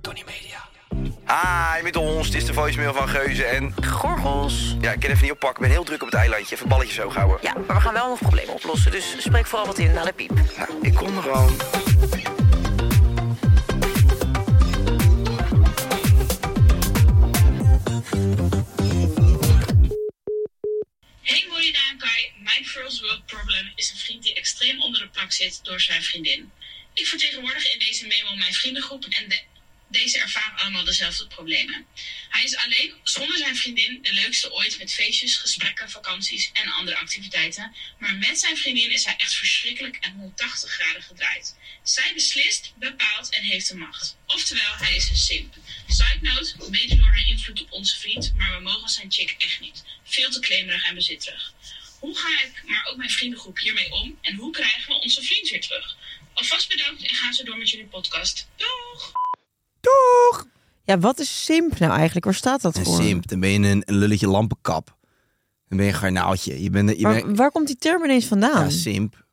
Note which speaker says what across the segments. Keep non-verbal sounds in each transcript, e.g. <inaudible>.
Speaker 1: Tony Media.
Speaker 2: Hi, met ons. Het is Ah, de voicemail van Geuze en...
Speaker 3: Gorgels.
Speaker 2: Ja, ik kan even niet oppakken. Ik ben heel druk op het eilandje. Even balletjes zo houden.
Speaker 3: Ja, maar we gaan wel nog problemen oplossen. Dus spreek vooral wat in naar de piep.
Speaker 2: Nou, ik kom er gewoon.
Speaker 4: Hey Molly Kai, mijn first world problem is een vriend die extreem onder de plak zit door zijn vriendin. Ik vertegenwoordig in deze memo mijn vriendengroep en de- deze ervaren allemaal dezelfde problemen. Hij is alleen zonder zijn vriendin de leukste ooit met feestjes, gesprekken, vakanties en andere activiteiten. Maar met zijn vriendin is hij echt verschrikkelijk en 180 graden gedraaid. Zij beslist, bepaalt en heeft de macht. Oftewel, hij is een simp. Side note, mede door haar invloed op onze vriend, maar we mogen zijn chick echt niet. Veel te claimerig en bezitterig. Hoe ga ik, maar ook mijn vriendengroep hiermee om en hoe krijgen we onze vriend weer terug? Alvast bedankt en ga zo door met jullie podcast. Doeg!
Speaker 5: Doeg! Ja, wat is simp nou eigenlijk? Waar staat dat
Speaker 1: Een
Speaker 5: voor?
Speaker 1: simp, dan ben je een, een lulletje lampenkap. Dan ben je een garnaaltje. Je bent, je
Speaker 5: Maar
Speaker 1: bent
Speaker 5: waar komt die term ineens vandaan?
Speaker 1: ja, simp.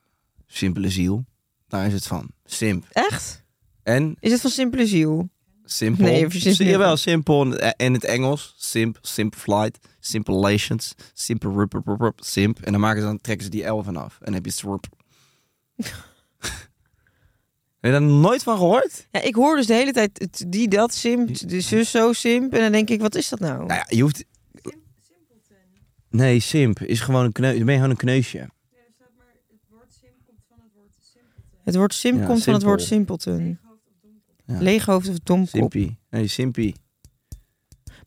Speaker 1: Simpele ziel. Daar is het van. Simp.
Speaker 5: Echt?
Speaker 1: En
Speaker 5: Is het van simpele ziel?
Speaker 1: simpel.
Speaker 5: Nee, precies
Speaker 1: Zie je
Speaker 5: niet.
Speaker 1: wel, simpel. En in het Engels, simp, simple flight, simple relations, simple rup, rup, rup, rup, simp. En dan, maken ze, dan trekken ze die L vanaf. En dan heb je srup.
Speaker 5: <laughs>
Speaker 1: heb je daar nooit van gehoord?
Speaker 5: Ja, ik hoor dus de hele tijd het- die dat simp, de zus zo simp. En dan denk ik, wat is dat nou?
Speaker 1: Nou ja, je hoeft... Nee, simp is gewoon een kneu... Dan ben je gewoon een kneusje.
Speaker 5: Het woord simp
Speaker 1: Ja,
Speaker 5: komt van het
Speaker 1: simpel.
Speaker 5: woord simpelton.
Speaker 1: Ja.
Speaker 5: Leeghoofd of domkop.
Speaker 1: Simpie. Nee, simpie.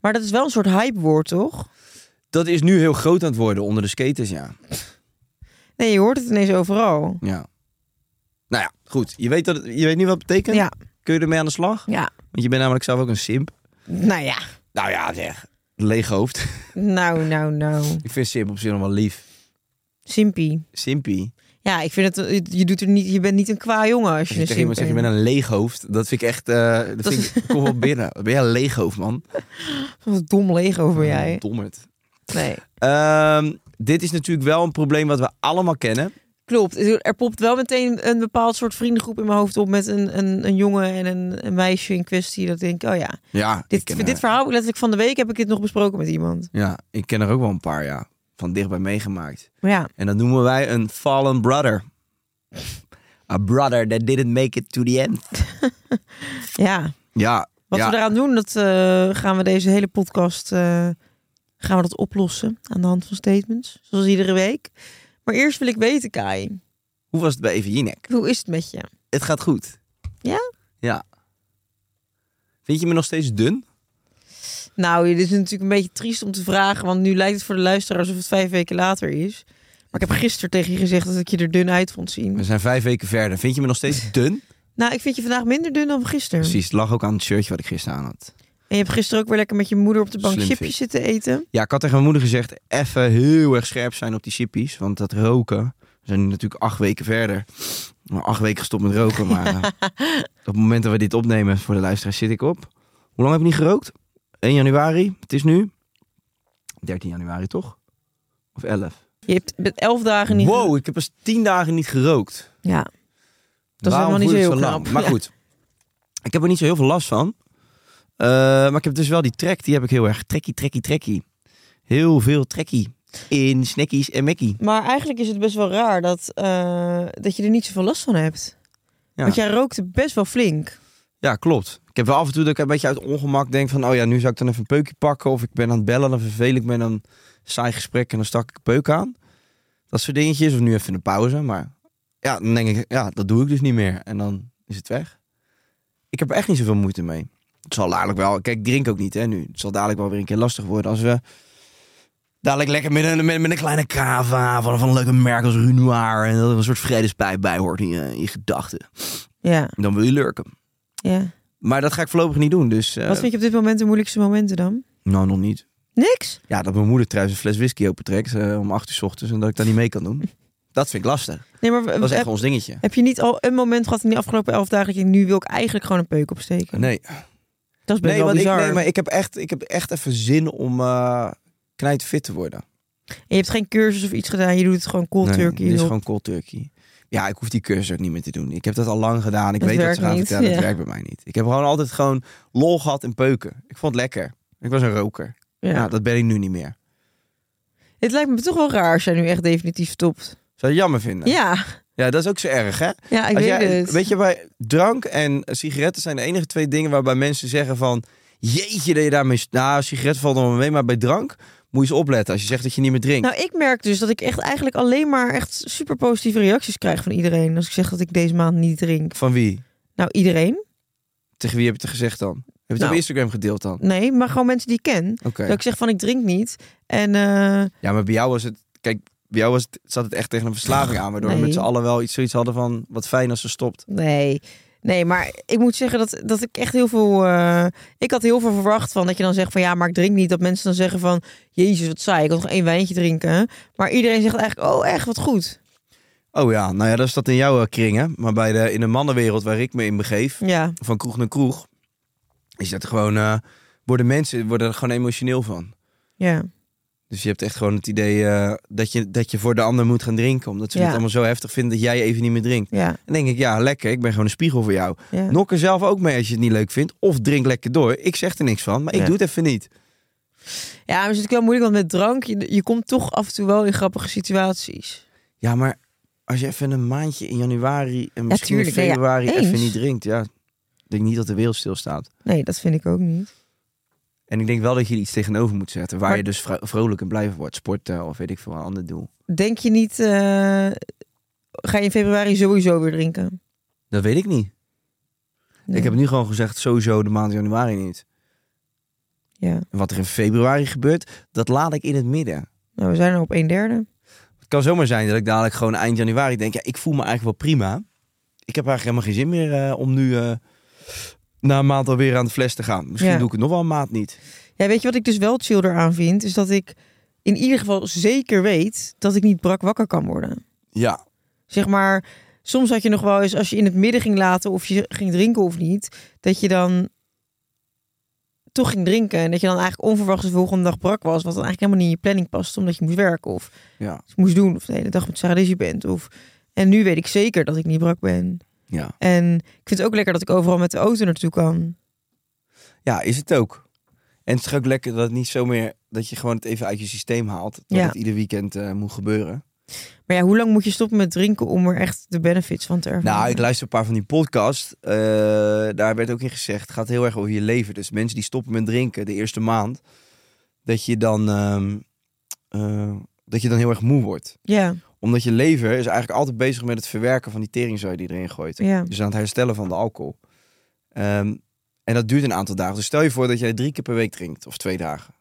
Speaker 5: Maar dat is wel een soort hypewoord, toch?
Speaker 1: Dat is nu heel groot aan het worden onder de skaters, ja.
Speaker 5: Nee, je hoort het ineens overal.
Speaker 1: ja. Nou ja, goed. Je weet, dat het- je weet nu wat het betekent?
Speaker 5: Ja.
Speaker 1: Kun je ermee aan de slag?
Speaker 5: Ja.
Speaker 1: Want je bent namelijk zelf ook een simp.
Speaker 5: Nou ja.
Speaker 1: Nou ja, zeg. Leeg hoofd.
Speaker 5: Nou, nou, nou.
Speaker 1: <laughs> Ik vind simp op zich nog wel lief.
Speaker 5: Simpie.
Speaker 1: Simpie.
Speaker 5: Ja, ik vind het, je, doet er niet, je bent niet een kwa jongen als
Speaker 1: Als
Speaker 5: je
Speaker 1: je
Speaker 5: een
Speaker 1: tegen iemand
Speaker 5: simp
Speaker 1: zegt, je
Speaker 5: bent.
Speaker 1: bent een leeg hoofd. Dat vind ik echt... eh, dat
Speaker 5: Dat
Speaker 1: vind ik... Kom wel <laughs> binnen. Ben jij een leeg hoofd, man?
Speaker 5: Wat een dom Lego ben jij.
Speaker 1: Dommerd.
Speaker 5: Nee.
Speaker 1: Ehm, dit is natuurlijk wel een probleem wat we allemaal kennen.
Speaker 5: Klopt. Er popt wel meteen een bepaald soort vriendengroep in mijn hoofd op met een, een, een jongen en een, een meisje in kwestie. Dat ik denk, oh ja,
Speaker 1: Ja, ik eh,
Speaker 5: dit,
Speaker 1: ken,
Speaker 5: dit
Speaker 1: er,
Speaker 5: verhaal heb ik letterlijk van de week heb ik dit nog besproken met iemand.
Speaker 1: ja, ik ken er ook wel een paar, ja. Van dichtbij meegemaakt.
Speaker 5: Maar ja,
Speaker 1: En dat noemen wij een fallen brother. A brother that didn't make it to the end.
Speaker 5: ja.
Speaker 1: Ja,
Speaker 5: wat
Speaker 1: ja.
Speaker 5: we eraan doen, dat eh, gaan we deze hele podcast eh, gaan we dat oplossen aan de hand van statements, zoals iedere week. Maar eerst wil ik weten, Kai,
Speaker 1: Hoe was het bij Even Jinek?
Speaker 5: hoe is het met je?
Speaker 1: Het gaat goed.
Speaker 5: Ja?
Speaker 1: Ja. Vind je me nog steeds dun?
Speaker 5: Nou, dit is natuurlijk een beetje triest om te vragen, want nu lijkt het voor de luisteraar alsof het vijf weken later is. Maar ik heb gisteren tegen je gezegd dat ik je er dun uit vond zien.
Speaker 1: We zijn vijf weken verder. Vind je me nog <laughs> steeds dun?
Speaker 5: Nou, ik vind je vandaag minder dun dan gisteren.
Speaker 1: Precies, het lag ook aan het shirtje wat ik gisteren aan had.
Speaker 5: En je hebt gisteren ook weer lekker met je moeder op de bank
Speaker 1: Slim
Speaker 5: chipjes
Speaker 1: fit.
Speaker 5: zitten eten.
Speaker 1: Ja, ik had tegen mijn moeder gezegd, even heel erg scherp zijn op die chippies. Want dat roken, we zijn nu natuurlijk acht weken verder. Maar acht weken gestopt met roken. Maar eh, op het moment dat we dit opnemen voor de luisteraars zit ik op. Hoe lang heb ik niet gerookt? 1 januari, het is nu 13 januari toch? Of 11?
Speaker 5: Je hebt met elf dagen niet...
Speaker 1: Wow, ik heb pas 10 dagen niet gerookt.
Speaker 5: Ja, dat is
Speaker 1: Waarom
Speaker 5: helemaal niet zo
Speaker 1: voel
Speaker 5: heel
Speaker 1: ik
Speaker 5: knap.
Speaker 1: Maar
Speaker 5: Ja. <laughs>
Speaker 1: goed, ik heb er niet zo heel veel last van. Eh, maar ik heb dus wel die trek, die heb ik heel erg. Trekkie, trekkie, trekkie. Heel veel trekkie. In snackies en mekkie.
Speaker 5: Maar eigenlijk is het best wel raar dat, eh, dat je er niet zoveel last van hebt.
Speaker 1: Ja.
Speaker 5: Want jij rookte best wel flink.
Speaker 1: Ja, klopt. Ik heb wel af en toe dat ik een beetje uit ongemak denk van... oh ja, nu zou ik dan even een peukje pakken... of ik ben aan het bellen, dan vervel ik me en dan saai gesprek... en dan stak ik een peuk aan. Dat soort dingetjes. Of nu even een pauze, maar... ja, dan denk ik, ja, dat doe ik dus niet meer. En dan is het weg. Ik heb er echt niet zoveel moeite mee. Het zal dadelijk wel... Kijk, ik drink ook niet, hè, nu. Het zal dadelijk wel weer een keer lastig worden als we... Dadelijk lekker met een, met, met een kleine cava van, van een leuke merk als Renoir... en dat er een soort vredespijp bij hoort in je, in je gedachten.
Speaker 5: Ja,
Speaker 1: Dan wil je lurken.
Speaker 5: ja.
Speaker 1: Maar dat ga ik voorlopig niet doen, dus... eh,
Speaker 5: Wat vind je op dit moment de moeilijkste momenten dan?
Speaker 1: Nou, nog niet.
Speaker 5: Niks?
Speaker 1: Ja, dat mijn moeder trouwens een fles whisky opentrekt eh, om 8 uur 's ochtends en dat ik daar niet mee kan
Speaker 5: <laughs>
Speaker 1: doen. Dat vind ik lastig.
Speaker 5: Nee, maar
Speaker 1: Dat is echt
Speaker 5: heb,
Speaker 1: ons dingetje.
Speaker 5: heb je niet al een moment gehad in die afgelopen elf dagen... dat je denkt, nu wil ik eigenlijk gewoon een peuk opsteken?
Speaker 1: Nee,
Speaker 5: Dat is best
Speaker 1: nee,
Speaker 5: wel
Speaker 1: want ik,
Speaker 5: bizar.
Speaker 1: nee maar ik heb, echt, ik heb echt even zin om eh knijtfit te worden.
Speaker 5: En je hebt geen cursus of iets gedaan, je doet het gewoon cold
Speaker 1: nee,
Speaker 5: turkey.
Speaker 1: Dit is
Speaker 5: joh.
Speaker 1: gewoon cold turkey. Ja, ik hoef die cursus ook niet meer te doen. Ik heb dat al lang gedaan. Ik
Speaker 5: Het
Speaker 1: weet wat
Speaker 5: werkt
Speaker 1: ze gaan
Speaker 5: niet,
Speaker 1: vertellen.
Speaker 5: ja.
Speaker 1: Het werkt bij mij niet. Ik heb gewoon altijd gewoon lol gehad in peuken. Ik vond het lekker. Ik was een roker.
Speaker 5: Ja.
Speaker 1: Nou, dat ben ik nu niet meer.
Speaker 5: Het lijkt me toch wel raar als jij nu echt definitief stopt.
Speaker 1: Zou je jammer vinden?
Speaker 5: Ja,
Speaker 1: Ja, dat is ook zo erg, hè?
Speaker 5: ja
Speaker 1: Als
Speaker 5: ik weet
Speaker 1: jij-
Speaker 5: het.
Speaker 1: Weet je, bij drank en sigaretten zijn de enige twee dingen waarbij mensen zeggen van... Jeetje, dat je daarmee... s- Nou, sigaretten valt nog wel mee, maar bij drank moet je eens opletten. Als je zegt dat je niet meer drinkt.
Speaker 5: Nou, ik merk dus dat ik echt eigenlijk alleen maar echt super positieve reacties krijg van iedereen. Als ik zeg dat ik deze maand niet drink.
Speaker 1: Van wie?
Speaker 5: Nou, iedereen.
Speaker 1: Tegen wie heb je het gezegd dan? Heb je het
Speaker 5: Nou.
Speaker 1: op Instagram gedeeld dan?
Speaker 5: Nee, maar gewoon mensen die ik ken.
Speaker 1: Oké.
Speaker 5: Dat ik zeg van ik drink niet. En eh,
Speaker 1: Ja, maar bij jou was het... Kijk, bij jou was het, zat het echt tegen een verslaving aan. Waardoor we
Speaker 5: Nee.
Speaker 1: met z'n allen wel iets, zoiets hadden van... Wat fijn als ze stopt.
Speaker 5: nee. Nee, maar ik moet zeggen dat, dat ik echt heel veel. eh, ik had heel veel verwacht van dat je dan zegt van ja, maar ik drink niet. Dat mensen dan zeggen van Jezus, wat saai. Ik wil nog één wijntje drinken. Maar iedereen zegt eigenlijk, oh echt, wat goed.
Speaker 1: Oh ja, nou ja, dat is dat in jouw eh, kring, hè? Maar bij de, in de mannenwereld waar ik me in begeef...
Speaker 5: Ja,
Speaker 1: van kroeg naar kroeg... Is dat gewoon... eh, worden mensen worden er gewoon emotioneel van.
Speaker 5: ja.
Speaker 1: Dus je hebt echt gewoon het idee eh, dat, je, dat je voor de ander moet gaan drinken. Omdat ze
Speaker 5: Ja.
Speaker 1: het allemaal zo heftig vinden dat jij even niet meer drinkt.
Speaker 5: Ja,
Speaker 1: En denk ik, ja, lekker. Ik ben gewoon een spiegel voor jou.
Speaker 5: ja.
Speaker 1: Nok er zelf ook mee als je het niet leuk vindt. Of drink lekker door. Ik zeg er niks van, maar ik
Speaker 5: Ja.
Speaker 1: doe het even niet.
Speaker 5: ja maar het is natuurlijk wel moeilijk, want met drank, je, je komt toch af en toe wel in grappige situaties.
Speaker 1: Ja, maar als je even een maandje in januari en misschien in
Speaker 5: tuurlijk, nee, ja,
Speaker 1: februari even
Speaker 5: eens.
Speaker 1: niet drinkt. Ja, ik denk niet dat de wereld stilstaat.
Speaker 5: Nee, dat vind ik ook niet.
Speaker 1: En ik denk wel dat je er iets tegenover moet zetten. Waar
Speaker 5: Maar-
Speaker 1: je dus vro- vrolijk en blij van wordt. Sporten of weet ik veel, een ander doel.
Speaker 5: Denk je niet, eh, ga je in februari sowieso weer drinken?
Speaker 1: Dat weet ik niet.
Speaker 5: Nee.
Speaker 1: Ik heb nu gewoon gezegd, sowieso de maand januari niet.
Speaker 5: Ja,
Speaker 1: En wat er in februari gebeurt, dat laat ik in het midden.
Speaker 5: nou we zijn er op een derde.
Speaker 1: Het kan zomaar zijn dat ik dadelijk gewoon eind januari denk... ja, ik voel me eigenlijk wel prima. Ik heb eigenlijk helemaal geen zin meer eh, om nu... eh, na een maand alweer aan de fles te gaan. Misschien
Speaker 5: Ja.
Speaker 1: doe ik het nog wel een maand niet.
Speaker 5: Ja, weet je wat ik dus wel chill eraan vind? Is dat ik in ieder geval zeker weet dat ik niet brak wakker kan worden.
Speaker 1: Ja.
Speaker 5: Zeg maar, soms had je nog wel eens, als je in het midden ging laten of je ging drinken of niet, dat je dan toch ging drinken. En dat je dan eigenlijk onverwachts de volgende dag brak was, wat dan eigenlijk helemaal niet in je planning past, omdat je moest werken of
Speaker 1: Ja.
Speaker 5: iets moest doen of de hele dag met Saradisje bent. Of... En nu weet ik zeker dat ik niet brak ben.
Speaker 1: Ja.
Speaker 5: En ik vind het ook lekker dat ik overal met de auto naartoe kan.
Speaker 1: ja, is het ook. En het is toch ook lekker dat het niet zo meer... dat je gewoon het even uit je systeem haalt. Dat
Speaker 5: Ja.
Speaker 1: het ieder weekend eh, moet gebeuren.
Speaker 5: Maar ja, hoe lang moet je stoppen met drinken om er echt de benefits van te ervaren?
Speaker 1: Nou, ik luister een paar van die podcasts. eh, daar werd ook in gezegd, het gaat heel erg over je leven. Dus mensen die stoppen met drinken de eerste maand, dat je dan, ehm, eh, dat je dan heel erg moe wordt.
Speaker 5: Ja,
Speaker 1: Omdat je lever is eigenlijk altijd bezig met het verwerken van die teringzooi die erin gooit.
Speaker 5: ja.
Speaker 1: Dus aan het herstellen van de alcohol. Ehm, en dat duurt een aantal dagen. Dus stel je voor dat jij drie keer per week drinkt, of twee dagen.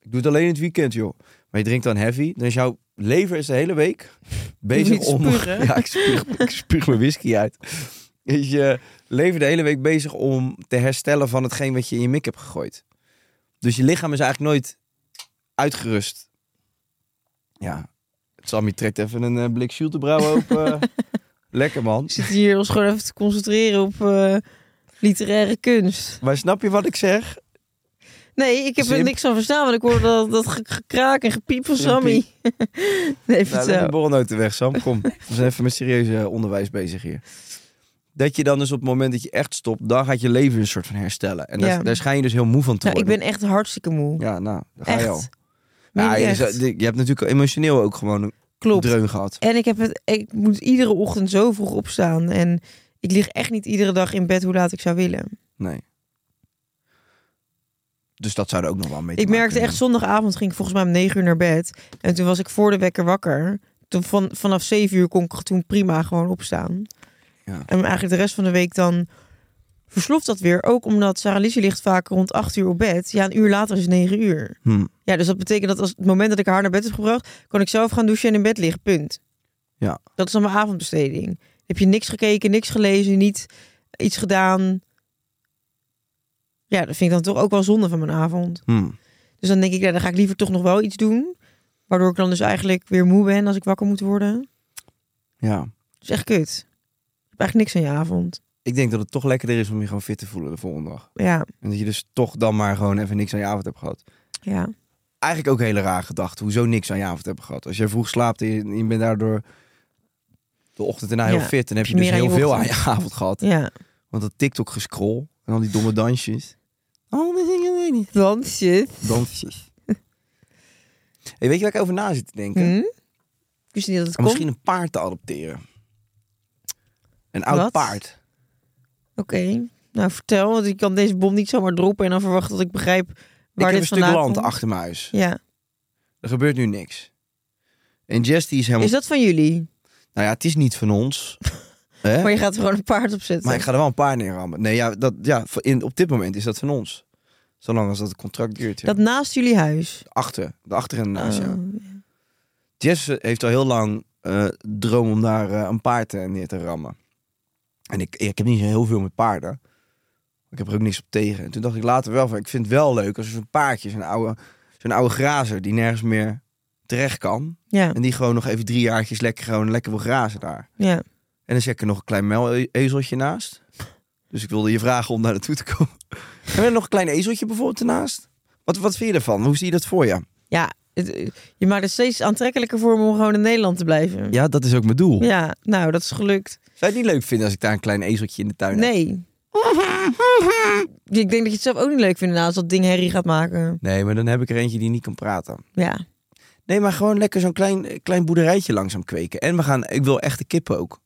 Speaker 1: Ik doe het alleen in het weekend, joh. Maar je drinkt dan heavy, dan is jouw lever is de hele
Speaker 5: <laughs>
Speaker 1: week bezig
Speaker 5: moet
Speaker 1: om...
Speaker 5: spugen.
Speaker 1: <laughs> Ja, ik spuug, ik spuug mijn whisky uit. Is je lever de hele week bezig om te herstellen van hetgeen wat je in je mik hebt gegooid. Dus je lichaam is eigenlijk nooit uitgerust. Ja, Sammy trekt even een eh, blik Schultebrouw
Speaker 5: <laughs>
Speaker 1: open. eh. Lekker man.
Speaker 5: We zitten hier ons gewoon even te concentreren op eh, literaire kunst.
Speaker 1: Maar snap je wat ik zeg?
Speaker 5: Nee, ik heb er
Speaker 1: Simp.
Speaker 5: niks van verstaan, want ik hoor dat, dat ge- gekraak en gepiep van Sammy. <laughs> nee,
Speaker 1: Nou, leg
Speaker 5: vertel.
Speaker 1: de borrelnoten weg, Sam. Kom, we zijn even met serieus eh, onderwijs bezig hier. Dat je dan dus op het moment dat je echt stopt, dan gaat je leven een soort van herstellen. En daar,
Speaker 5: Ja.
Speaker 1: daar schijn je dus heel moe van te
Speaker 5: Nou, ik
Speaker 1: worden.
Speaker 5: ben echt hartstikke moe.
Speaker 1: Ja, nou, daar ga je al.
Speaker 5: echt. Meen
Speaker 1: Ja,
Speaker 5: ik
Speaker 1: je,
Speaker 5: echt.
Speaker 1: zou- je hebt natuurlijk emotioneel ook gewoon een
Speaker 5: Klopt.
Speaker 1: dreun gehad.
Speaker 5: En ik, heb het, ik moet iedere ochtend zo vroeg opstaan. En ik lig echt niet iedere dag in bed hoe laat ik zou willen.
Speaker 1: Nee. Dus dat zou er ook nog wel mee te
Speaker 5: Ik
Speaker 1: maken
Speaker 5: merkte echt,
Speaker 1: hebben.
Speaker 5: zondagavond ging ik volgens mij om negen uur naar bed. En toen was ik voor de wekker wakker. Toen van, vanaf zeven uur kon ik toen prima gewoon opstaan.
Speaker 1: Ja.
Speaker 5: En eigenlijk de rest van de week dan versloft dat weer. Ook omdat Sarah Lizzie ligt vaak rond acht uur op bed. Ja, een uur later is negen uur.
Speaker 1: Hm.
Speaker 5: Ja, dus dat betekent dat als het moment dat ik haar naar bed heb gebracht... kon ik zelf gaan douchen en in bed liggen, punt.
Speaker 1: Ja.
Speaker 5: Dat is dan mijn avondbesteding. Heb je niks gekeken, niks gelezen, niet iets gedaan... Ja, dat vind ik dan toch ook wel zonde van mijn avond.
Speaker 1: Hm.
Speaker 5: Dus dan denk ik, ja, dan ga ik liever toch nog wel iets doen. Waardoor ik dan dus eigenlijk weer moe ben als ik wakker moet worden.
Speaker 1: Ja.
Speaker 5: Dat is echt kut. Ik heb eigenlijk niks aan je avond.
Speaker 1: Ik denk dat het toch lekkerder is om je gewoon fit te voelen de volgende dag.
Speaker 5: Ja,
Speaker 1: En dat je dus toch dan maar gewoon even niks aan je avond hebt gehad.
Speaker 5: ja.
Speaker 1: eigenlijk ook een hele raar gedachte. Hoezo niks aan je avond hebben gehad. Als jij vroeg slaapt en je, en je bent daardoor de ochtend daarna heel
Speaker 5: Ja,
Speaker 1: fit. En heb
Speaker 5: heb
Speaker 1: je
Speaker 5: je
Speaker 1: dus
Speaker 5: meer aan
Speaker 1: heel
Speaker 5: je
Speaker 1: veel aan je <laughs>
Speaker 5: ochtend.
Speaker 1: avond gehad.
Speaker 5: Ja.
Speaker 1: Want dat TikTok gescroll en al die domme dansjes. Oh, dat zingen wij niet.
Speaker 5: Dansjes. <laughs>
Speaker 1: Dansjes. hey, weet je waar ik over na zit te denken?
Speaker 5: Hm? Ik wist niet dat het
Speaker 1: Om
Speaker 5: kon.
Speaker 1: Ah, misschien een paard te adopteren. Een oud
Speaker 5: Wat?
Speaker 1: paard.
Speaker 5: Oké. Nou, vertel. Want ik kan deze bom niet zomaar droppen en dan verwachten dat ik begrijp waar
Speaker 1: ik heb
Speaker 5: dit
Speaker 1: een stuk
Speaker 5: vandaan
Speaker 1: land
Speaker 5: komt.
Speaker 1: achter mijn huis.
Speaker 5: Ja.
Speaker 1: Er gebeurt nu niks. En Jess die is helemaal...
Speaker 5: Is dat van jullie?
Speaker 1: Nou ja, het is niet van
Speaker 5: <laughs>
Speaker 1: ons. Hè?
Speaker 5: Maar je gaat er gewoon een paard op zetten.
Speaker 1: Maar ik ga er wel een paar neerrammen. Nee, ja, dat, ja in, op dit moment is dat van ons. Zolang als dat het contract duurt. Ja. Ah,
Speaker 5: Dat naast jullie huis.
Speaker 1: Achter. De achter en naast, ja.
Speaker 5: Oh.
Speaker 1: Jess eh, heeft al heel lang eh droom om daar eh, een paard eh, neer te rammen. En ik, ik heb niet zo heel veel met paarden. Ik heb er ook niks op tegen. En toen dacht ik later wel van, ik vind het wel leuk als er zo'n paardje, zo'n oude, zo'n oude grazer die nergens meer terecht kan.
Speaker 5: Ja.
Speaker 1: En die gewoon nog even drie jaartjes lekker, gewoon lekker wil grazen daar.
Speaker 5: Ja.
Speaker 1: En dan zet ik er nog een klein muilezeltje naast. Dus ik wilde je vragen om daar naartoe te komen. <laughs> En dan nog een klein ezeltje bijvoorbeeld ernaast. Wat, wat vind je ervan? Hoe zie je dat voor je?
Speaker 5: Ja. het- je maakt het steeds aantrekkelijker voor me om gewoon in Nederland te blijven.
Speaker 1: Ja, dat is ook mijn doel.
Speaker 5: Ja, nou, dat is gelukt.
Speaker 1: Zou je het niet leuk vinden als ik daar een klein ezeltje in de tuin heb?
Speaker 5: Nee. Ik denk dat je het zelf ook niet leuk vindt nou, als dat ding herrie gaat maken.
Speaker 1: Nee, maar dan heb ik er eentje die niet kan praten.
Speaker 5: Ja.
Speaker 1: Nee, maar gewoon lekker zo'n klein, klein boerderijtje langzaam kweken. En we gaan, ik wil echte kippen ook.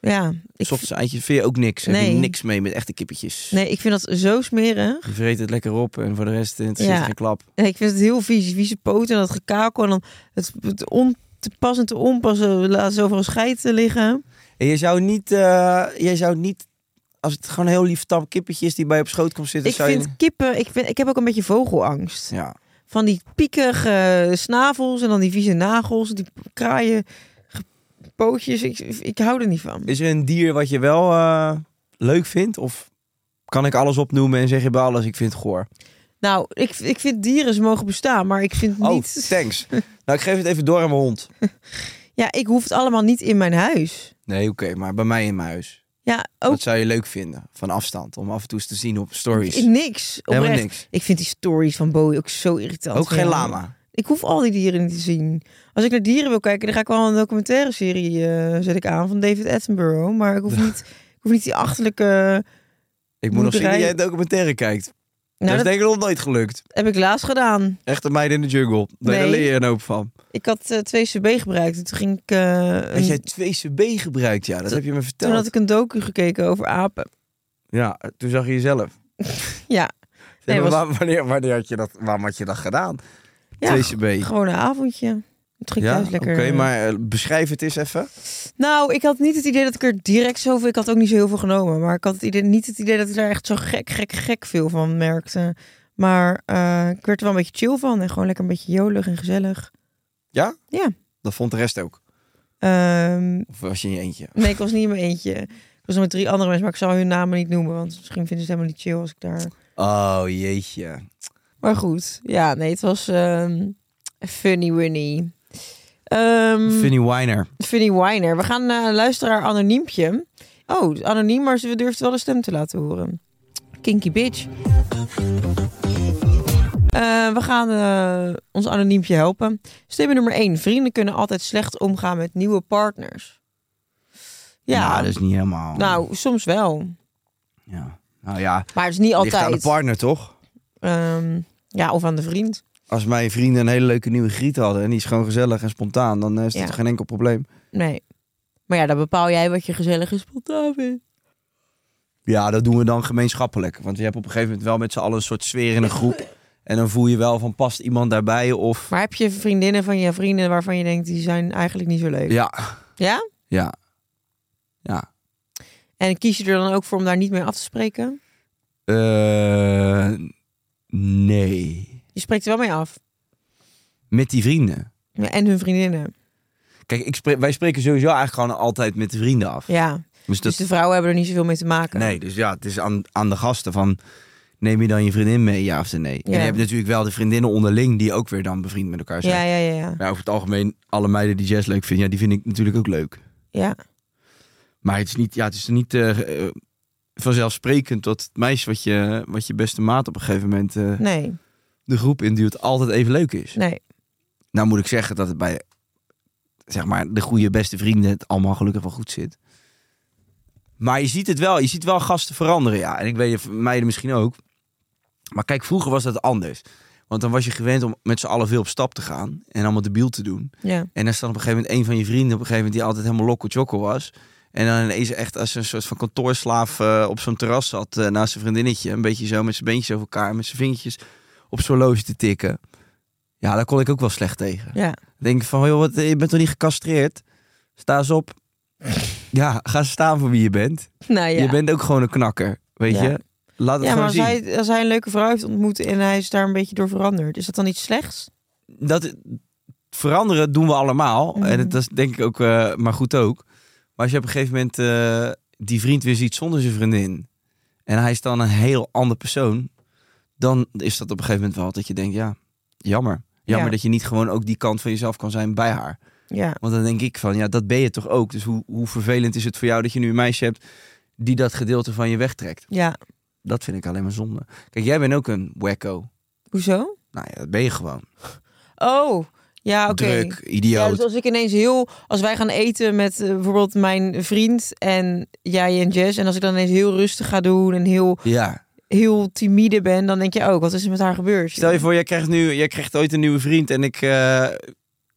Speaker 5: Ja. Ik,
Speaker 1: Soft eitjes vind je ook niks. Nee. Heb je
Speaker 5: Nee.
Speaker 1: niks mee met echte kippetjes.
Speaker 5: nee, ik vind dat zo smerig.
Speaker 1: Je vreet het lekker op en voor de rest eh, het zit
Speaker 5: Ja.
Speaker 1: geen klap.
Speaker 5: Ja, ik vind het heel vies. die Vieze poten en dat gekakel. En dan het, het on, te pas en te onpassen. Laat ze overal scheiden liggen.
Speaker 1: En je zou niet, eh, jij zou niet, als het gewoon een heel lief tam kippetje is die bij je op schoot komt zitten,
Speaker 5: ik
Speaker 1: zou
Speaker 5: vind
Speaker 1: je...
Speaker 5: kippen... Ik, vind, ik heb ook een beetje vogelangst.
Speaker 1: Ja.
Speaker 5: Van die piekige snavels en dan die vieze nagels. Die kraaien ge- pootjes. Ik, ik hou er niet van.
Speaker 1: Is er een dier wat je wel eh, leuk vindt? Of kan ik alles opnoemen en zeg je bij alles, ik vind het goor?
Speaker 5: Nou, ik, ik vind dieren, ze mogen bestaan. Maar ik vind
Speaker 1: Oh,
Speaker 5: niet...
Speaker 1: thanks.
Speaker 5: <laughs>
Speaker 1: nou, ik geef het even door aan mijn hond.
Speaker 5: Ja, ik hoef het allemaal niet in mijn huis.
Speaker 1: Nee, oké, maar bij mij in mijn huis.
Speaker 5: Ja, ook
Speaker 1: Wat zou je leuk vinden van afstand? Om af en toe eens te zien op stories.
Speaker 5: in niks.
Speaker 1: Helemaal
Speaker 5: Oprecht.
Speaker 1: niks.
Speaker 5: Ik vind die stories van Bowie ook zo irritant.
Speaker 1: Ook geen
Speaker 5: Ja.
Speaker 1: lama.
Speaker 5: Ik hoef al die dieren niet te zien. Als ik naar dieren wil kijken, dan ga ik wel een documentaire serie eh, zet ik aan van David Attenborough.
Speaker 1: <laughs>
Speaker 5: Maar ik hoef niet, ik hoef niet die achterlijke. Nou,
Speaker 1: Ik moet nog zien dat
Speaker 5: Boerderij-
Speaker 1: jij een documentaire kijkt. dat
Speaker 5: Nou,
Speaker 1: is
Speaker 5: dat
Speaker 1: denk ik nog nooit gelukt.
Speaker 5: heb ik laatst gedaan.
Speaker 1: Echte meiden in de jungle. Nee, Daar
Speaker 5: Nee.
Speaker 1: leer je een hoop van.
Speaker 5: Ik had eh, twee CB gebruikt. En Toen ging ik. eh
Speaker 1: Had
Speaker 5: een-
Speaker 1: jij 2CB gebruikt? Ja, dat heb je me verteld.
Speaker 5: toen had ik een docu gekeken over apen.
Speaker 1: Ja, toen zag je jezelf.
Speaker 5: <laughs> Ja, Nee,
Speaker 1: maar
Speaker 5: was-
Speaker 1: waar- wanneer, wanneer had je dat, waarom had je dat gedaan?
Speaker 5: ja
Speaker 1: 2CB.
Speaker 5: gewoon een avondje. Het ging
Speaker 1: Ja,
Speaker 5: thuis
Speaker 1: oké,
Speaker 5: lekker.
Speaker 1: maar eh, beschrijf het eens even.
Speaker 5: Nou, ik had niet het idee dat ik er direct zoveel... Ik had ook niet zo heel veel genomen. Maar ik had het idee, niet het idee dat ik daar echt zo gek, gek, gek veel van merkte. Maar eh, ik werd er wel een beetje chill van. En gewoon lekker een beetje jolig en gezellig.
Speaker 1: Ja?
Speaker 5: Ja.
Speaker 1: Dat vond de rest ook.
Speaker 5: Ehm,
Speaker 1: Of was je in je eentje?
Speaker 5: nee, ik was niet in mijn eentje. Ik was nog met drie andere mensen, maar ik zal hun namen niet noemen. Want misschien vinden ze het helemaal niet chill als ik daar...
Speaker 1: Oh, jeetje.
Speaker 5: Maar goed, ja, nee, het was ehm, funny winnie. Ehm,
Speaker 1: Vinnie Weiner.
Speaker 5: Funny Winer. We gaan eh luisteraar anoniempje. Oh, anoniem, maar ze durft wel een stem te laten horen. Kinky bitch. Eh, we gaan eh, ons anoniempje helpen. Stem nummer 1. Vrienden kunnen altijd slecht omgaan met nieuwe partners. Ja,
Speaker 1: Nou, dat is niet helemaal...
Speaker 5: nou, soms wel.
Speaker 1: Ja. Nou ja,
Speaker 5: Maar het is niet
Speaker 1: ligt aan de
Speaker 5: altijd.
Speaker 1: partner, toch?
Speaker 5: Ehm, ja, of aan de vriend.
Speaker 1: Als mijn vrienden een hele leuke nieuwe griet hadden... en die is gewoon gezellig en spontaan... dan eh, is dat
Speaker 5: Ja.
Speaker 1: geen enkel probleem.
Speaker 5: Nee. Maar ja, dan bepaal jij wat je gezellig en spontaan vindt.
Speaker 1: Ja, dat doen we dan gemeenschappelijk. Want je hebt op een gegeven moment wel met z'n allen een soort sfeer in een groep. <laughs> En dan voel je wel van past iemand daarbij of...
Speaker 5: Maar heb je vriendinnen van je vrienden waarvan je denkt, die zijn eigenlijk niet zo leuk?
Speaker 1: Ja,
Speaker 5: ja?
Speaker 1: ja. Ja.
Speaker 5: En kies je er dan ook voor om daar niet mee af te spreken?
Speaker 1: Eh, nee.
Speaker 5: Je spreekt er wel mee af.
Speaker 1: Met die vrienden.
Speaker 5: Ja, En hun vriendinnen.
Speaker 1: Kijk, ik spreek, wij spreken sowieso eigenlijk gewoon altijd met de vrienden af.
Speaker 5: Ja.
Speaker 1: Dus dat,
Speaker 5: Dus de vrouwen hebben er niet zoveel mee te maken.
Speaker 1: nee, dus ja, het is aan, aan de gasten van... Neem je dan je vriendin mee, ja of nee? En
Speaker 5: Ja.
Speaker 1: je hebt natuurlijk wel de vriendinnen onderling... die ook weer dan bevriend met elkaar zijn.
Speaker 5: Ja, ja, ja, ja.
Speaker 1: Maar over het algemeen, alle meiden die jazz leuk vinden... ja, die vind ik natuurlijk ook leuk.
Speaker 5: Ja,
Speaker 1: Maar het is niet, ja, het is niet eh, eh, vanzelfsprekend dat het meisje wat je, wat je beste maat op een gegeven moment eh,
Speaker 5: nee,
Speaker 1: de groep induwt altijd even leuk is.
Speaker 5: nee.
Speaker 1: Nou moet ik zeggen dat het bij zeg maar, de goede beste vrienden het allemaal gelukkig wel goed zit. Maar je ziet het wel. Je ziet wel gasten veranderen, ja. En ik weet het, meiden misschien ook. Maar kijk, vroeger was dat anders. Want dan was je gewend om met z'n allen veel op stap te gaan. En allemaal debiel te doen.
Speaker 5: Ja.
Speaker 1: En dan staat op een gegeven moment een van je vrienden op een gegeven moment die altijd helemaal lokko chokko was. En dan ineens echt als een soort van kantoorslaaf eh, op zo'n terras zat eh, naast zijn vriendinnetje. Een beetje zo met zijn beentjes over elkaar, met zijn vingertjes op zo'n horloge te tikken. Ja, daar kon ik ook wel slecht tegen.
Speaker 5: Ja.
Speaker 1: Denk van, joh, wat, je bent toch niet gecastreerd? Sta eens op. Ja, ga staan voor wie je bent.
Speaker 5: Nou ja.
Speaker 1: Je bent ook gewoon een knakker, weet
Speaker 5: Ja.
Speaker 1: je? Laat het
Speaker 5: ja, maar
Speaker 1: gewoon
Speaker 5: als
Speaker 1: zien.
Speaker 5: hij, als hij een leuke vrouw heeft ontmoet en hij is daar een beetje door veranderd, is dat dan iets slechts?
Speaker 1: dat veranderen doen we allemaal.
Speaker 5: Mhm.
Speaker 1: En dat is denk ik ook, eh, maar goed ook. Maar als je op een gegeven moment eh, die vriend weer ziet zonder zijn vriendin. En hij is dan een heel ander persoon. Dan is dat op een gegeven moment wel dat je denkt, ja, jammer. Jammer
Speaker 5: Ja.
Speaker 1: dat je niet gewoon ook die kant van jezelf kan zijn bij haar.
Speaker 5: Ja.
Speaker 1: Want dan denk ik van, ja, dat ben je toch ook. Dus hoe, hoe vervelend is het voor jou dat je nu een meisje hebt die dat gedeelte van je wegtrekt?
Speaker 5: Ja.
Speaker 1: Dat vind ik alleen maar zonde. Kijk, jij bent ook een wacko.
Speaker 5: Hoezo?
Speaker 1: Nou ja, dat ben je gewoon.
Speaker 5: Oh, ja, oké.
Speaker 1: Druk,
Speaker 5: Ja,
Speaker 1: idioot.
Speaker 5: dus als ik ineens heel, als wij gaan eten met eh, bijvoorbeeld mijn vriend en jij en Jess, en als ik dan ineens heel rustig ga doen en heel,
Speaker 1: ja.
Speaker 5: heel timide ben, dan denk je ook, wat is er met haar gebeurd?
Speaker 1: Stel je voor, jij krijgt, nu, jij krijgt ooit een nieuwe vriend en ik, eh,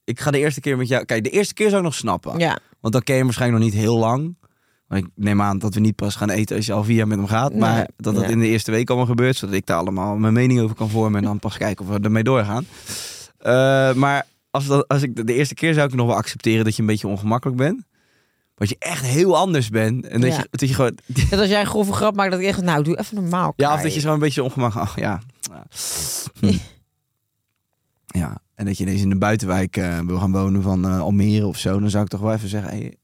Speaker 1: ik ga de eerste keer met jou... Kijk, de eerste keer zou ik nog snappen.
Speaker 5: Ja,
Speaker 1: Want dan ken je hem waarschijnlijk nog niet heel lang. Want ik neem aan dat we niet pas gaan eten als je al vier jaar met hem gaat.
Speaker 5: Nee,
Speaker 1: maar dat dat
Speaker 5: nee.
Speaker 1: in de eerste week allemaal gebeurt. Zodat ik daar allemaal mijn mening over kan vormen. En dan pas kijken of we ermee doorgaan. Eh, maar als, dat, als ik de, de eerste keer zou ik nog wel accepteren dat je een beetje ongemakkelijk bent. Want je echt heel anders bent. En dat,
Speaker 5: Ja.
Speaker 1: je, dat je gewoon...
Speaker 5: dat als jij een grove grap maakt, dat ik echt, nou, doe even normaal.
Speaker 1: Ja, of
Speaker 5: Kai.
Speaker 1: dat je zo een beetje ongemakkelijk... Ach, ja. Ja. Hm. ja, en dat je ineens in de buitenwijk eh, wil gaan wonen van eh, Almere of zo. Dan zou ik toch wel even zeggen... Hey,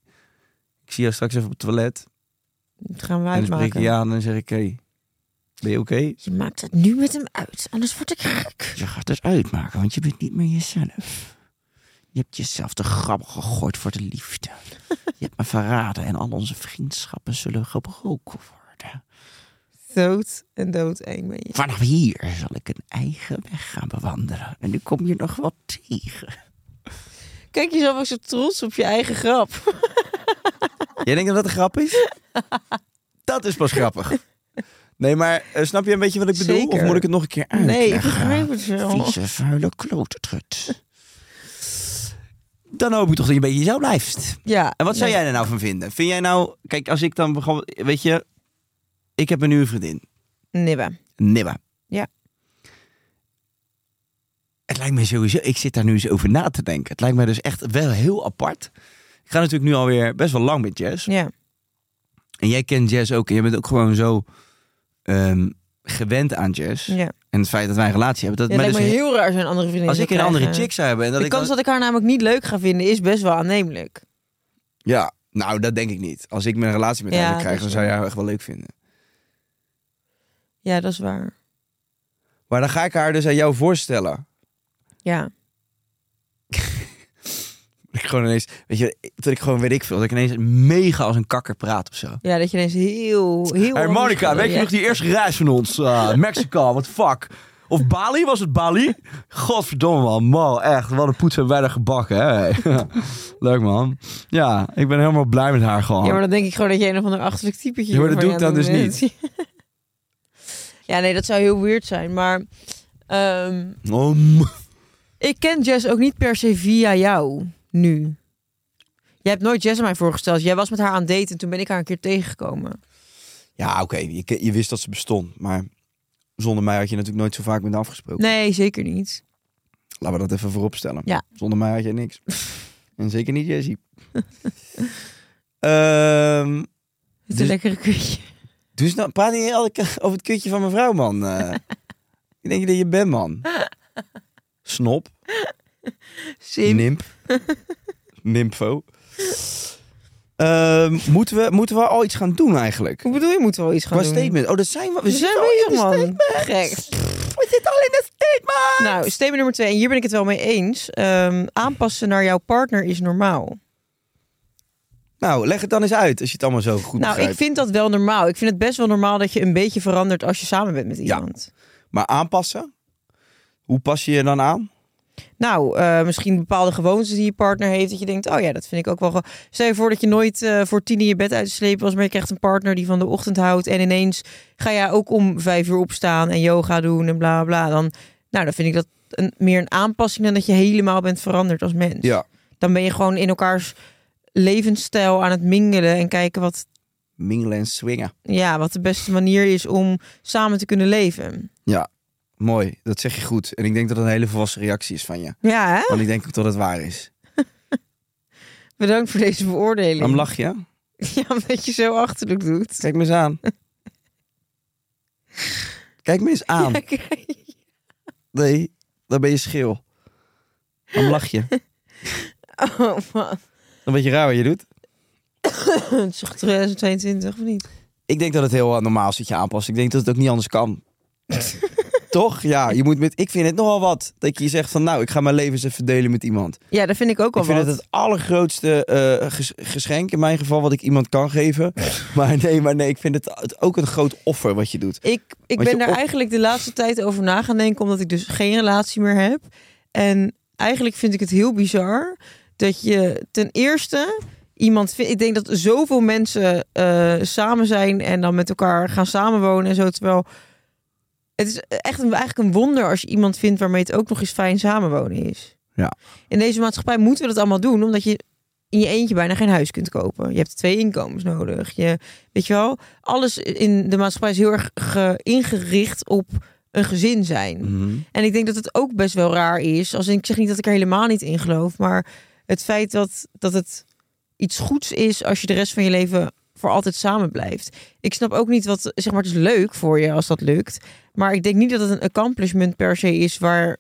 Speaker 1: ik zie jou straks even op het toilet.
Speaker 5: Dat gaan we
Speaker 1: En dan spreek ik
Speaker 5: uitmaken.
Speaker 1: je aan en dan zeg ik... Hey, ben je oké?
Speaker 5: Je maakt het nu met hem uit, anders word ik gek.
Speaker 1: Je gaat het uitmaken, want je bent niet meer jezelf. Je hebt jezelf de grabbel gegooid voor de liefde. Je hebt me verraden en al onze vriendschappen zullen gebroken worden.
Speaker 5: Dood en dood eng ben je.
Speaker 1: Vanaf hier zal ik een eigen weg gaan bewandelen. En nu kom je nog wat tegen.
Speaker 5: Kijk jezelf ook zo trots op je eigen grap.
Speaker 1: Jij denkt dat dat een grap <laughs> is? dat is pas grappig. Nee, maar eh, snap je een beetje wat ik bedoel?
Speaker 5: Zeker.
Speaker 1: Of moet ik het nog een keer <laughs> uitleggen?
Speaker 5: Nee, ik begrijp het wel.
Speaker 1: Vieze, vuile klootrut. Dan hoop ik toch dat je een beetje zo blijft.
Speaker 5: Ja.
Speaker 1: En wat zou
Speaker 5: nee.
Speaker 1: jij er nou van vinden? Vind jij nou... Kijk, als ik dan bijvoorbeeld... Weet je, ik heb een nieuwe vriendin.
Speaker 5: Nibben.
Speaker 1: Nibba.
Speaker 5: Ja.
Speaker 1: Het lijkt mij sowieso, ik zit daar nu eens over na te denken. Het lijkt mij dus echt wel heel apart. Ik ga natuurlijk nu alweer best wel lang met Jess.
Speaker 5: Ja.
Speaker 1: En jij kent Jess ook. En jij bent ook gewoon zo ehm, gewend aan Jess.
Speaker 5: ja.
Speaker 1: En het feit dat wij een relatie hebben.
Speaker 5: Ja,
Speaker 1: Dat,
Speaker 5: het
Speaker 1: maar
Speaker 5: lijkt
Speaker 1: dus
Speaker 5: me heel raar zijn andere vriendin.
Speaker 1: als ik een andere chick zou hebben. En dat
Speaker 5: De
Speaker 1: ik
Speaker 5: kans
Speaker 1: dan-
Speaker 5: dat ik haar namelijk niet leuk ga vinden is best wel aannemelijk.
Speaker 1: Ja, nou dat denk ik niet. Als ik mijn relatie met
Speaker 5: Ja,
Speaker 1: haar zou
Speaker 5: dat is
Speaker 1: krijgen, dan zou jij haar echt wel leuk vinden.
Speaker 5: Ja, dat is waar.
Speaker 1: Maar dan ga ik haar dus aan jou voorstellen.
Speaker 5: Ja.
Speaker 1: Dat ik gewoon ineens, weet je, dat ik gewoon weet ik veel. Dat ik ineens mega als een kakker praat of zo.
Speaker 5: Ja, dat je ineens heel, heel...
Speaker 1: Hey Monica, weet je nog die eerste reis van ons? <laughs> Ah, Mexico, wat fuck. Of Bali, was het Bali? Godverdomme man, man, echt. Wat een poets hebben wij daar gebakken, hè. <laughs> Leuk man. Ja, ik ben helemaal blij met haar gewoon.
Speaker 5: Ja, maar dan denk ik gewoon dat je een of ander achterlijk typetje...
Speaker 1: Oh. Ja, maar dat
Speaker 5: hiervoor
Speaker 1: doe ik
Speaker 5: aan
Speaker 1: dan
Speaker 5: het
Speaker 1: dus
Speaker 5: doen bent. <laughs> ja, nee, dat zou heel weird zijn. Maar ehm,
Speaker 1: Om.
Speaker 5: ik ken Jess ook niet per se via jou nu. Jij hebt nooit Jess aan mij voorgesteld. Jij was met haar aan het daten en toen ben ik haar een keer tegengekomen.
Speaker 1: Oh. Ja, oké, je, ke- je wist dat ze bestond, maar zonder mij had je natuurlijk nooit zo vaak met haar afgesproken.
Speaker 5: Nee, zeker niet.
Speaker 1: Laten we dat even voorop stellen.
Speaker 5: Ja.
Speaker 1: Zonder mij had jij <laughs> niks. en zeker niet <laughs> Jessie. Ehm,
Speaker 5: Het is
Speaker 1: Dus-
Speaker 5: een lekkere kutje.
Speaker 1: dus nou, praat niet elke keer over het kutje van mevrouw, man.
Speaker 5: <laughs>
Speaker 1: Eh, ik denk je dat je bent, man. Snop.
Speaker 5: Sim. <laughs>
Speaker 1: Nimp. Nimpho. Ehm, moeten, we, moeten we al iets gaan doen eigenlijk?
Speaker 5: Hoe bedoel je, moeten we wel iets gaan
Speaker 1: Qua
Speaker 5: doen?
Speaker 1: statement. Oh, dat zijn we. We,
Speaker 5: We zijn
Speaker 1: zitten al in
Speaker 5: bezig,
Speaker 1: de
Speaker 5: man.
Speaker 1: statement.
Speaker 5: Gek.
Speaker 1: We zitten al in de statement.
Speaker 5: Nou, statement nummer twee. En hier ben ik het wel mee eens. Ehm, aanpassen naar jouw partner is normaal.
Speaker 1: Nou, leg het dan eens uit als je het allemaal zo goed
Speaker 5: nou,
Speaker 1: begrijpt.
Speaker 5: ik vind dat wel normaal. Ik vind het best wel normaal dat je een beetje verandert als je samen bent met iemand.
Speaker 1: Maar aanpassen? Hoe pas je je dan aan?
Speaker 5: Nou, eh, misschien bepaalde gewoontes die je partner heeft. Dat je denkt, oh ja, dat vind ik ook wel... ge- Stel je voor dat je nooit eh, voor tien in je bed uit te slepen was. Maar je krijgt een partner die van de ochtend houdt. En ineens ga jij ook om vijf uur opstaan en yoga doen en bla bla. bla. Dan, nou, dan vind ik dat een, meer een aanpassing dan dat je helemaal bent veranderd als mens.
Speaker 1: Ja.
Speaker 5: Dan ben je gewoon in elkaars levensstijl aan het mingelen. En kijken wat,
Speaker 1: Mingelen en swingen.
Speaker 5: ja, wat de beste manier is om samen te kunnen leven.
Speaker 1: Mooi, dat zeg je goed. En ik denk dat dat een hele volwassen reactie is van je.
Speaker 5: Ja, hè?
Speaker 1: Want ik denk ook dat het waar is.
Speaker 5: Bedankt voor deze beoordeling.
Speaker 1: Waarom lach je?
Speaker 5: <laughs> Ja, omdat je zo achterlijk doet.
Speaker 1: Kijk me eens aan. Kijk me eens aan.
Speaker 5: <laughs> Ja, kijk.
Speaker 1: Nee, dan ben je scheel. Waarom lach je?
Speaker 5: Oh man.
Speaker 1: Dan weet je raar wat je doet.
Speaker 5: Het is toch 2022 of niet?
Speaker 1: Ik denk dat het heel eh, normaal is dat je aanpast. Ik denk dat het ook niet anders
Speaker 5: <laughs>
Speaker 1: kan. Toch? Ja, je moet met. Ik vind het nogal wat dat je zegt van, nou, ik ga mijn leven eens even delen met iemand.
Speaker 5: Ja, dat vind ik ook wel
Speaker 1: Ik vind het
Speaker 5: wat.
Speaker 1: het allergrootste eh, ges- geschenk in mijn geval wat ik iemand kan
Speaker 5: <laughs>
Speaker 1: geven. Maar nee, maar nee, ik vind het, het ook een groot offer wat je doet.
Speaker 5: Ik, ik
Speaker 1: Want
Speaker 5: ben
Speaker 1: je
Speaker 5: daar
Speaker 1: op-
Speaker 5: eigenlijk de laatste tijd over na gaan denken, omdat ik dus geen relatie meer heb. En eigenlijk vind ik het heel bizar dat je ten eerste iemand vindt. Ik denk dat zoveel mensen eh, samen zijn en dan met elkaar gaan samenwonen en zo. Terwijl het is echt een, eigenlijk een wonder als je iemand vindt waarmee het ook nog eens fijn samenwonen is.
Speaker 1: Ja.
Speaker 5: In deze maatschappij moeten we dat allemaal doen, omdat je in je eentje bijna geen huis kunt kopen. Je hebt twee inkomens nodig. Je, weet je wel, alles in de maatschappij is heel erg ge- ingericht op een gezin zijn. En ik denk dat het ook best wel raar is. Als in- ik zeg niet dat ik er helemaal niet in geloof, maar het feit dat, dat het iets goeds is als je de rest van je leven voor altijd samen blijft. Ik snap ook niet wat, zeg maar, het is leuk voor je als dat lukt. Maar ik denk niet dat het een accomplishment per se is waar,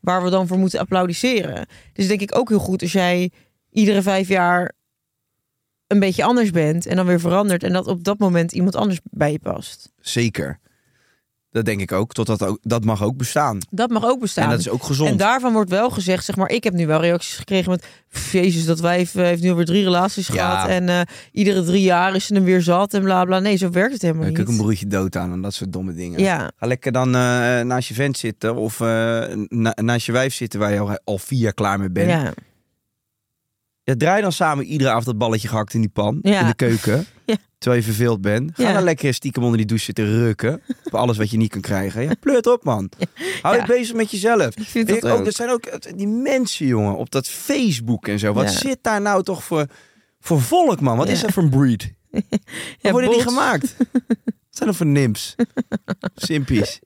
Speaker 5: waar we dan voor moeten applaudisseren. Dus denk ik ook heel goed als jij iedere vijf jaar een beetje anders bent en dan weer verandert en dat op dat moment iemand anders bij je past.
Speaker 1: Zeker. Dat denk ik ook. Totdat ook dat mag ook bestaan.
Speaker 5: Dat mag ook bestaan.
Speaker 1: En dat is ook gezond.
Speaker 5: En daarvan wordt wel gezegd, zeg maar, ik heb nu wel reacties gekregen met... "Pff, Jezus, dat wijf eh, heeft nu alweer drie relaties
Speaker 1: Ja.
Speaker 5: gehad. En eh, iedere drie jaar is ze hem weer zat en bla bla. Nee, zo werkt het helemaal
Speaker 1: Ik
Speaker 5: niet.
Speaker 1: kijk een broertje dood aan en dat soort domme dingen.
Speaker 5: ja,
Speaker 1: Ga lekker dan eh, naast je vent zitten of eh, na- naast je wijf zitten waar je al, al vier jaar klaar mee bent. Ja.
Speaker 5: ja.
Speaker 1: draai dan samen iedere avond dat balletje gehakt in die pan,
Speaker 5: Ja.
Speaker 1: in de keuken.
Speaker 5: <laughs> Ja.
Speaker 1: Terwijl je verveeld bent. Ga
Speaker 5: Ja.
Speaker 1: dan lekker stiekem onder die douche zitten rukken. op alles wat je niet kan krijgen. Ja, pleurt op man. Hou
Speaker 5: <laughs> Ja.
Speaker 1: je bezig met jezelf.
Speaker 5: Ik vind
Speaker 1: Weet
Speaker 5: dat
Speaker 1: ik ook,
Speaker 5: ook.
Speaker 1: er zijn ook eh, die mensen, jongen, op dat Facebook en zo. Wat
Speaker 5: Ja.
Speaker 1: zit daar nou toch voor, voor volk, man? Wat
Speaker 5: Ja.
Speaker 1: is dat voor een breed?
Speaker 5: <laughs> Ja,
Speaker 1: Waar worden die
Speaker 5: bots.
Speaker 1: gemaakt?
Speaker 5: <laughs>
Speaker 1: Wat zijn dat voor nimps? Simpies.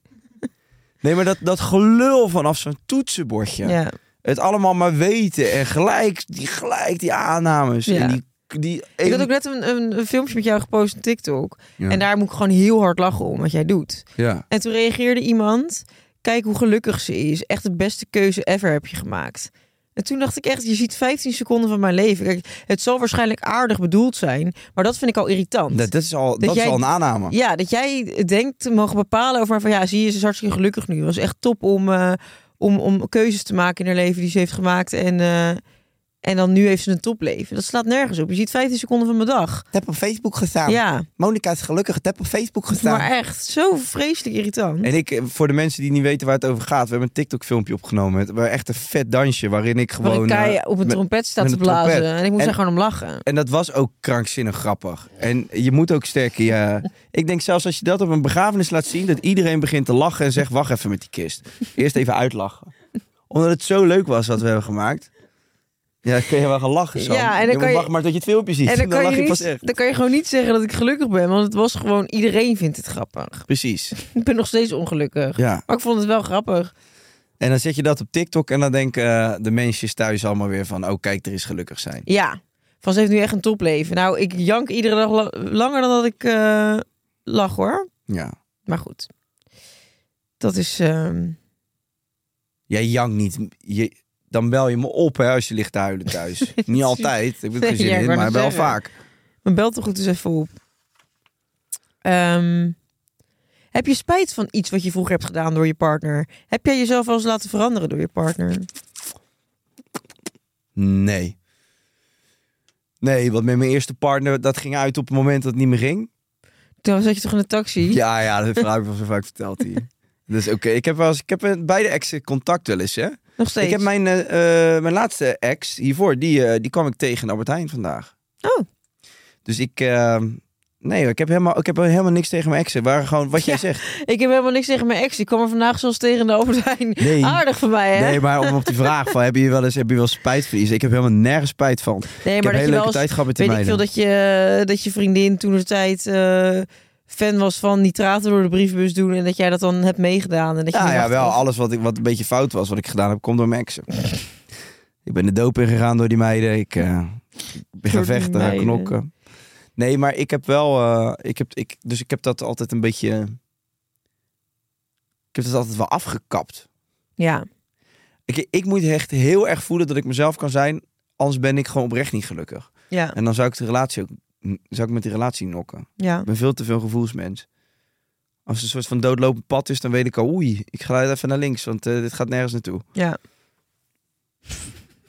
Speaker 1: Nee, maar dat, dat gelul vanaf zo'n toetsenbordje.
Speaker 5: Ja.
Speaker 1: Het allemaal maar weten en gelijk die, gelijk die aannames.
Speaker 5: Ja.
Speaker 1: En die, die
Speaker 5: Ik had
Speaker 1: een-
Speaker 5: ook net een, een, een filmpje met jou gepost op TikTok.
Speaker 1: Ja.
Speaker 5: En daar moet ik gewoon heel hard lachen om wat jij doet.
Speaker 1: ja.
Speaker 5: En toen reageerde iemand... Kijk hoe gelukkig ze is. Echt de beste keuze ever heb je gemaakt. En toen dacht ik echt, je ziet 15 seconden van mijn leven. Kijk, het zal waarschijnlijk aardig bedoeld zijn, maar dat vind ik al irritant.
Speaker 1: Dat, dat is al, dat
Speaker 5: jij-
Speaker 1: is al een aanname.
Speaker 5: Ja, dat jij denkt te mogen bepalen over mij van ja, zie je, ze is hartstikke gelukkig nu. Het was echt top om, eh, om, om keuzes te maken in haar leven die ze heeft gemaakt. En, eh, en dan nu heeft ze een topleven. Dat slaat nergens op. Je ziet 15 seconden van mijn dag.
Speaker 1: Ik heb op Facebook gestaan.
Speaker 5: Ja,
Speaker 1: Monika is gelukkig. Ik heb op Facebook
Speaker 5: maar echt zo vreselijk irritant.
Speaker 1: En ik, eh, voor de mensen die niet weten waar het over gaat, we hebben een TikTok-filmpje opgenomen. Het was echt een vet dansje waarin ik gewoon.
Speaker 5: Waarin
Speaker 1: eh,
Speaker 5: Kai op een
Speaker 1: met-
Speaker 5: trompet staat
Speaker 1: met
Speaker 5: te
Speaker 1: een trompet.
Speaker 5: blazen. En ik moest
Speaker 1: En-
Speaker 5: daar gewoon om lachen.
Speaker 1: En dat was ook krankzinnig grappig. En je moet ook sterk in je... eh, Ik denk zelfs als je dat op een begrafenis laat zien... dat iedereen begint te lachen en zegt... wacht even met die kist. Eerst even uitlachen. Omdat het zo leuk was wat we hebben gemaakt. Ja, dan kun je wel gaan lachen, Sam.
Speaker 5: Ja, en dan
Speaker 1: Jongen,
Speaker 5: kan je-
Speaker 1: Wacht maar tot je het filmpje ziet.
Speaker 5: En dan kan,
Speaker 1: lach
Speaker 5: je
Speaker 1: je pas
Speaker 5: niet,
Speaker 1: echt.
Speaker 5: dan kan je gewoon niet zeggen dat ik gelukkig ben. Want het was gewoon, iedereen vindt het grappig.
Speaker 1: Precies,
Speaker 5: Ik ben nog steeds ongelukkig.
Speaker 1: ja.
Speaker 5: Maar ik vond het wel grappig.
Speaker 1: En dan zet je dat op TikTok... en dan denken eh, de mensjes thuis allemaal weer van... oh, kijk, er is gelukkig zijn.
Speaker 5: Ja, van ze heeft nu echt een topleven. Nou, ik jank iedere dag la- langer dan dat ik eh, lach hoor.
Speaker 1: Ja.
Speaker 5: Maar goed, dat is. ehm,
Speaker 1: Jij jankt niet... Je... Dan bel je me op hè, als je ligt te huilen
Speaker 5: <laughs>
Speaker 1: thuis. niet altijd, ik heb er geen zin
Speaker 5: Ja, ik
Speaker 1: in,
Speaker 5: wou
Speaker 1: maar
Speaker 5: net
Speaker 1: wel
Speaker 5: zeggen.
Speaker 1: vaak.
Speaker 5: Mijn bel toch goed eens even op. Ehm, heb je spijt van iets wat je vroeger hebt gedaan door je partner? Heb jij jezelf wel eens laten veranderen door je partner?
Speaker 1: Nee. Nee, want met mijn eerste partner, dat ging uit op het moment dat het niet meer ging.
Speaker 5: Toen zat je toch in de taxi?
Speaker 1: Ja,
Speaker 5: <laughs>
Speaker 1: ja, dat verhaal heb ik wel zo vaak verteld hier. Dus oké, ik heb wel eens, ik heb met beide exen contact wel eens, hè.
Speaker 5: Nog steeds.
Speaker 1: Ik heb mijn, eh, eh, mijn laatste ex hiervoor, die, eh, die kwam ik tegen in Albert Heijn vandaag.
Speaker 5: Oh.
Speaker 1: Dus ik, eh, nee, ik heb, helemaal, ik heb helemaal niks tegen mijn exen. Waren gewoon wat jij
Speaker 5: Ja.
Speaker 1: zegt.
Speaker 5: Ik heb helemaal niks tegen mijn ex. Die kwam er vandaag zoals tegen de Albert Heijn.
Speaker 1: Nee.
Speaker 5: Aardig van mij, hè?
Speaker 1: Nee, maar om op die vraag van heb je wel eens heb je wel spijt van iets? Ik heb helemaal nergens spijt van.
Speaker 5: Nee,
Speaker 1: ik heb hele leuke tijd gehad met die
Speaker 5: Weet ik veel
Speaker 1: meiden.
Speaker 5: dat je, eh, dat je vriendin toen de tijd eh, fan was van nitraten door de brievenbus doen. En dat jij dat dan hebt meegedaan. En dat je oh.
Speaker 1: Ja,
Speaker 5: nu
Speaker 1: ja,
Speaker 5: achteraf-
Speaker 1: wel. Alles wat, ik, wat een beetje fout was, wat ik gedaan heb, komt door mijn exen. ik ben de doop ingegaan door die meiden. Ik eh, ben
Speaker 5: die
Speaker 1: gaan vechten, gaan
Speaker 5: meiden.
Speaker 1: knokken. Nee, maar ik heb wel... eh, ik heb, ik, dus ik heb dat altijd een beetje... Ik heb dat altijd wel afgekapt.
Speaker 5: Ja,
Speaker 1: Ik, ik moet echt heel erg voelen dat ik mezelf kan zijn. Anders ben ik gewoon oprecht niet gelukkig.
Speaker 5: ja,
Speaker 1: En dan zou ik, de relatie ook, zou ik met die relatie nokken.
Speaker 5: ja.
Speaker 1: Ik ben veel te veel gevoelsmens. Als het een soort van doodlopend pad is, dan weet ik al, oei, ik ga even naar links, want eh, dit gaat nergens naartoe.
Speaker 5: Ja.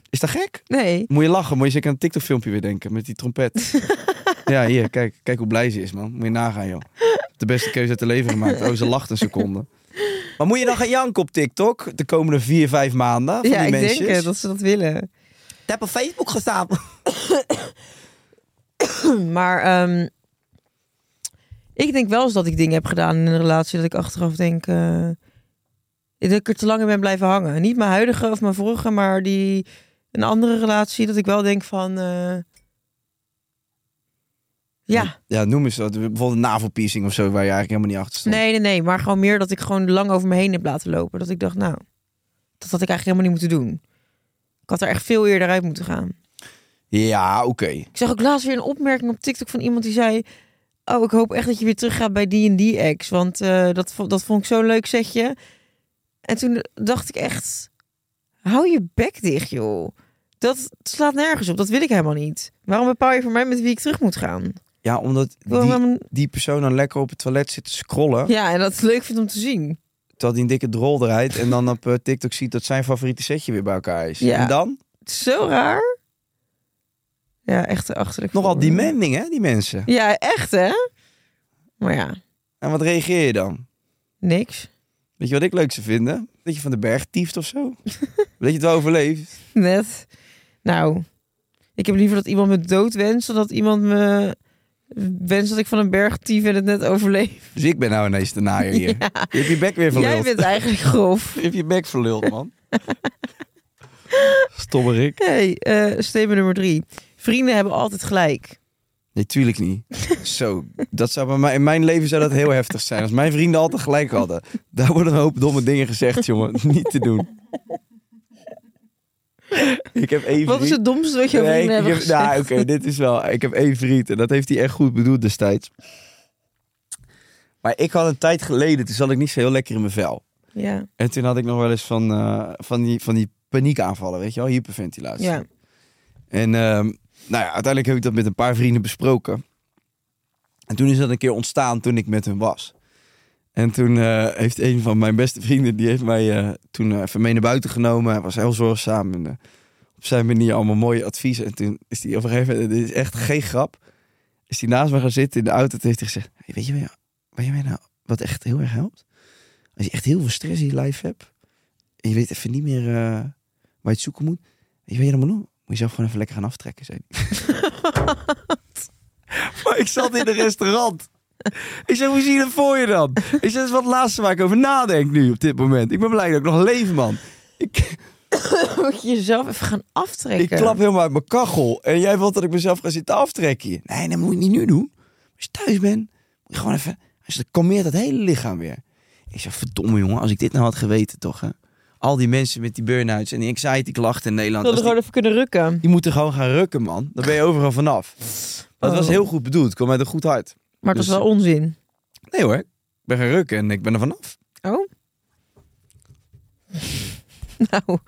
Speaker 1: Is dat gek?
Speaker 5: Nee.
Speaker 1: Moet je lachen, moet je zeker aan een TikTok-filmpje weer denken met die trompet.
Speaker 5: <laughs>
Speaker 1: ja, hier, kijk, kijk hoe blij ze is, man. Moet je nagaan, joh. De beste keuze uit de leven gemaakt. Oh, ze lacht een seconde. Maar moet je dan gaan janken op TikTok de komende vier, vijf maanden? Van
Speaker 5: Ja,
Speaker 1: die
Speaker 5: ik
Speaker 1: mensen?
Speaker 5: denk eh, dat ze dat willen.
Speaker 1: Ik heb op Facebook gestaan.
Speaker 5: Maar ehm, ik denk wel eens dat ik dingen heb gedaan in een relatie dat ik achteraf denk eh, dat ik er te lang in ben blijven hangen. Niet mijn huidige of mijn vorige, maar die een andere relatie dat ik wel denk van eh, ja,
Speaker 1: Ja, noem eens wat. Bijvoorbeeld navelpiercing of zo, waar je eigenlijk helemaal niet achter stond.
Speaker 5: nee, nee, nee, maar gewoon meer dat ik gewoon lang over me heen heb laten lopen. Dat ik dacht, nou, dat had ik eigenlijk helemaal niet moeten doen. Ik had er echt veel eerder uit moeten gaan.
Speaker 1: Ja, oké.
Speaker 5: Ik zag ook laatst weer een opmerking op TikTok van iemand die zei... Oh, ik hoop echt dat je weer teruggaat bij die en die ex. Want eh, dat, vo- dat vond ik zo'n leuk setje. En toen dacht ik echt... Hou je bek dicht, joh. Dat slaat nergens op. Dat wil ik helemaal niet. Waarom bepaal je voor mij met wie ik terug moet gaan? Ik
Speaker 1: Ja, omdat
Speaker 5: wil
Speaker 1: die,
Speaker 5: helemaal-
Speaker 1: die persoon dan lekker op het toilet zit te scrollen.
Speaker 5: Ja, en dat is leuk vindt om te zien.
Speaker 1: Terwijl die een dikke drol draait. En dan op eh, TikTok ziet dat zijn favoriete setje weer bij elkaar is.
Speaker 5: Ja.
Speaker 1: En dan?
Speaker 5: Het is zo raar. Ja, echt achterlijk.
Speaker 1: Nogal
Speaker 5: voor me.
Speaker 1: demanding, hè, die mensen.
Speaker 5: Ja, echt, hè? Maar ja,
Speaker 1: En wat reageer je dan?
Speaker 5: niks.
Speaker 1: Weet je wat ik leuk zou vinden? Dat je van de berg tieft of
Speaker 5: <laughs>
Speaker 1: zo. dat je het wel overleeft.
Speaker 5: Net. Nou, ik heb liever dat iemand me dood wenst... dan dat iemand me wenst dat ik van een berg tief en het net overleef.
Speaker 1: Dus ik ben nou ineens de naaier
Speaker 5: <laughs>
Speaker 1: hier. Je hebt je bek weer verluld.
Speaker 5: Jij bent eigenlijk grof.
Speaker 1: Je hebt je bek verluld, man.
Speaker 5: <laughs>
Speaker 1: Stommerik.
Speaker 5: hey, eh statement nummer drie. Vrienden hebben altijd gelijk.
Speaker 1: Nee, tuurlijk
Speaker 5: <laughs>
Speaker 1: niet. Zo, dat zou bij mij, in mijn leven zou dat heel heftig zijn. Als mijn vrienden altijd gelijk hadden. Daar worden een hoop domme dingen gezegd,
Speaker 5: <laughs>
Speaker 1: jongen. Niet te doen. Ik heb één
Speaker 5: Wat is
Speaker 1: vriend-
Speaker 5: het domste wat je over
Speaker 1: Nee,
Speaker 5: vrienden
Speaker 1: ik
Speaker 5: hebt
Speaker 1: heb, nou,
Speaker 5: gezegd?
Speaker 1: oké, dit is wel. Ik heb één vriend en dat heeft hij echt goed bedoeld destijds. Maar ik had een tijd geleden, toen zat ik niet zo heel lekker in mijn vel.
Speaker 5: Ja,
Speaker 1: En toen had ik nog wel eens van, eh, van, die, van die paniekaanvallen, weet je wel, hyperventilatie.
Speaker 5: ja.
Speaker 1: En ehm, nou ja, uiteindelijk heb ik dat met een paar vrienden besproken. En toen is dat een keer ontstaan toen ik met hun was. En toen eh, heeft een van mijn beste vrienden, die heeft mij eh, toen eh, even mee naar buiten genomen. Hij was heel zorgzaam en eh, op zijn manier allemaal mooie adviezen. En toen is hij op een gegeven moment, dit is echt geen grap, is hij naast me gaan zitten in de auto. Toen heeft hij gezegd, "Hey, weet je wat- weet je wat nou wat echt heel erg helpt? Als je echt heel veel stress in je lijf hebt en je weet even niet meer eh, waar je het zoeken moet. Weet je wat je dan moet doen? Moet je zelf gewoon even lekker gaan aftrekken, zei hij. <laughs> maar ik zat in een restaurant. Ik zei, hoe zie je dat voor je dan? Ik zei, dat is wat laatste waar ik over nadenk nu op dit moment. Ik ben blij dat ik nog leef, man. Ik,
Speaker 5: Moet je jezelf even gaan aftrekken.
Speaker 1: ik klap helemaal uit mijn kachel. En jij wilt dat ik mezelf ga zitten aftrekken hier. Nee, dat moet je niet nu doen. Als je thuis bent, moet je gewoon even... Als je dat kalmeert dat hele lichaam weer. Ik zeg, verdomme jongen, als ik dit nou had geweten toch, hè. Al die mensen met die burn-outs en die anxiety-klachten in Nederland.
Speaker 5: Ik wilde
Speaker 1: als die-
Speaker 5: gewoon even kunnen rukken.
Speaker 1: je moet er gewoon gaan rukken, man. Dan ben je overal vanaf. Maar het was
Speaker 5: Oh.
Speaker 1: heel goed bedoeld. Het kwam uit een goed hart.
Speaker 5: Maar het
Speaker 1: Dus-
Speaker 5: was wel
Speaker 1: <laughs>
Speaker 5: onzin.
Speaker 1: Nee hoor, ik ben gaan rukken en ik ben er vanaf.
Speaker 5: Oh? <laughs> nou,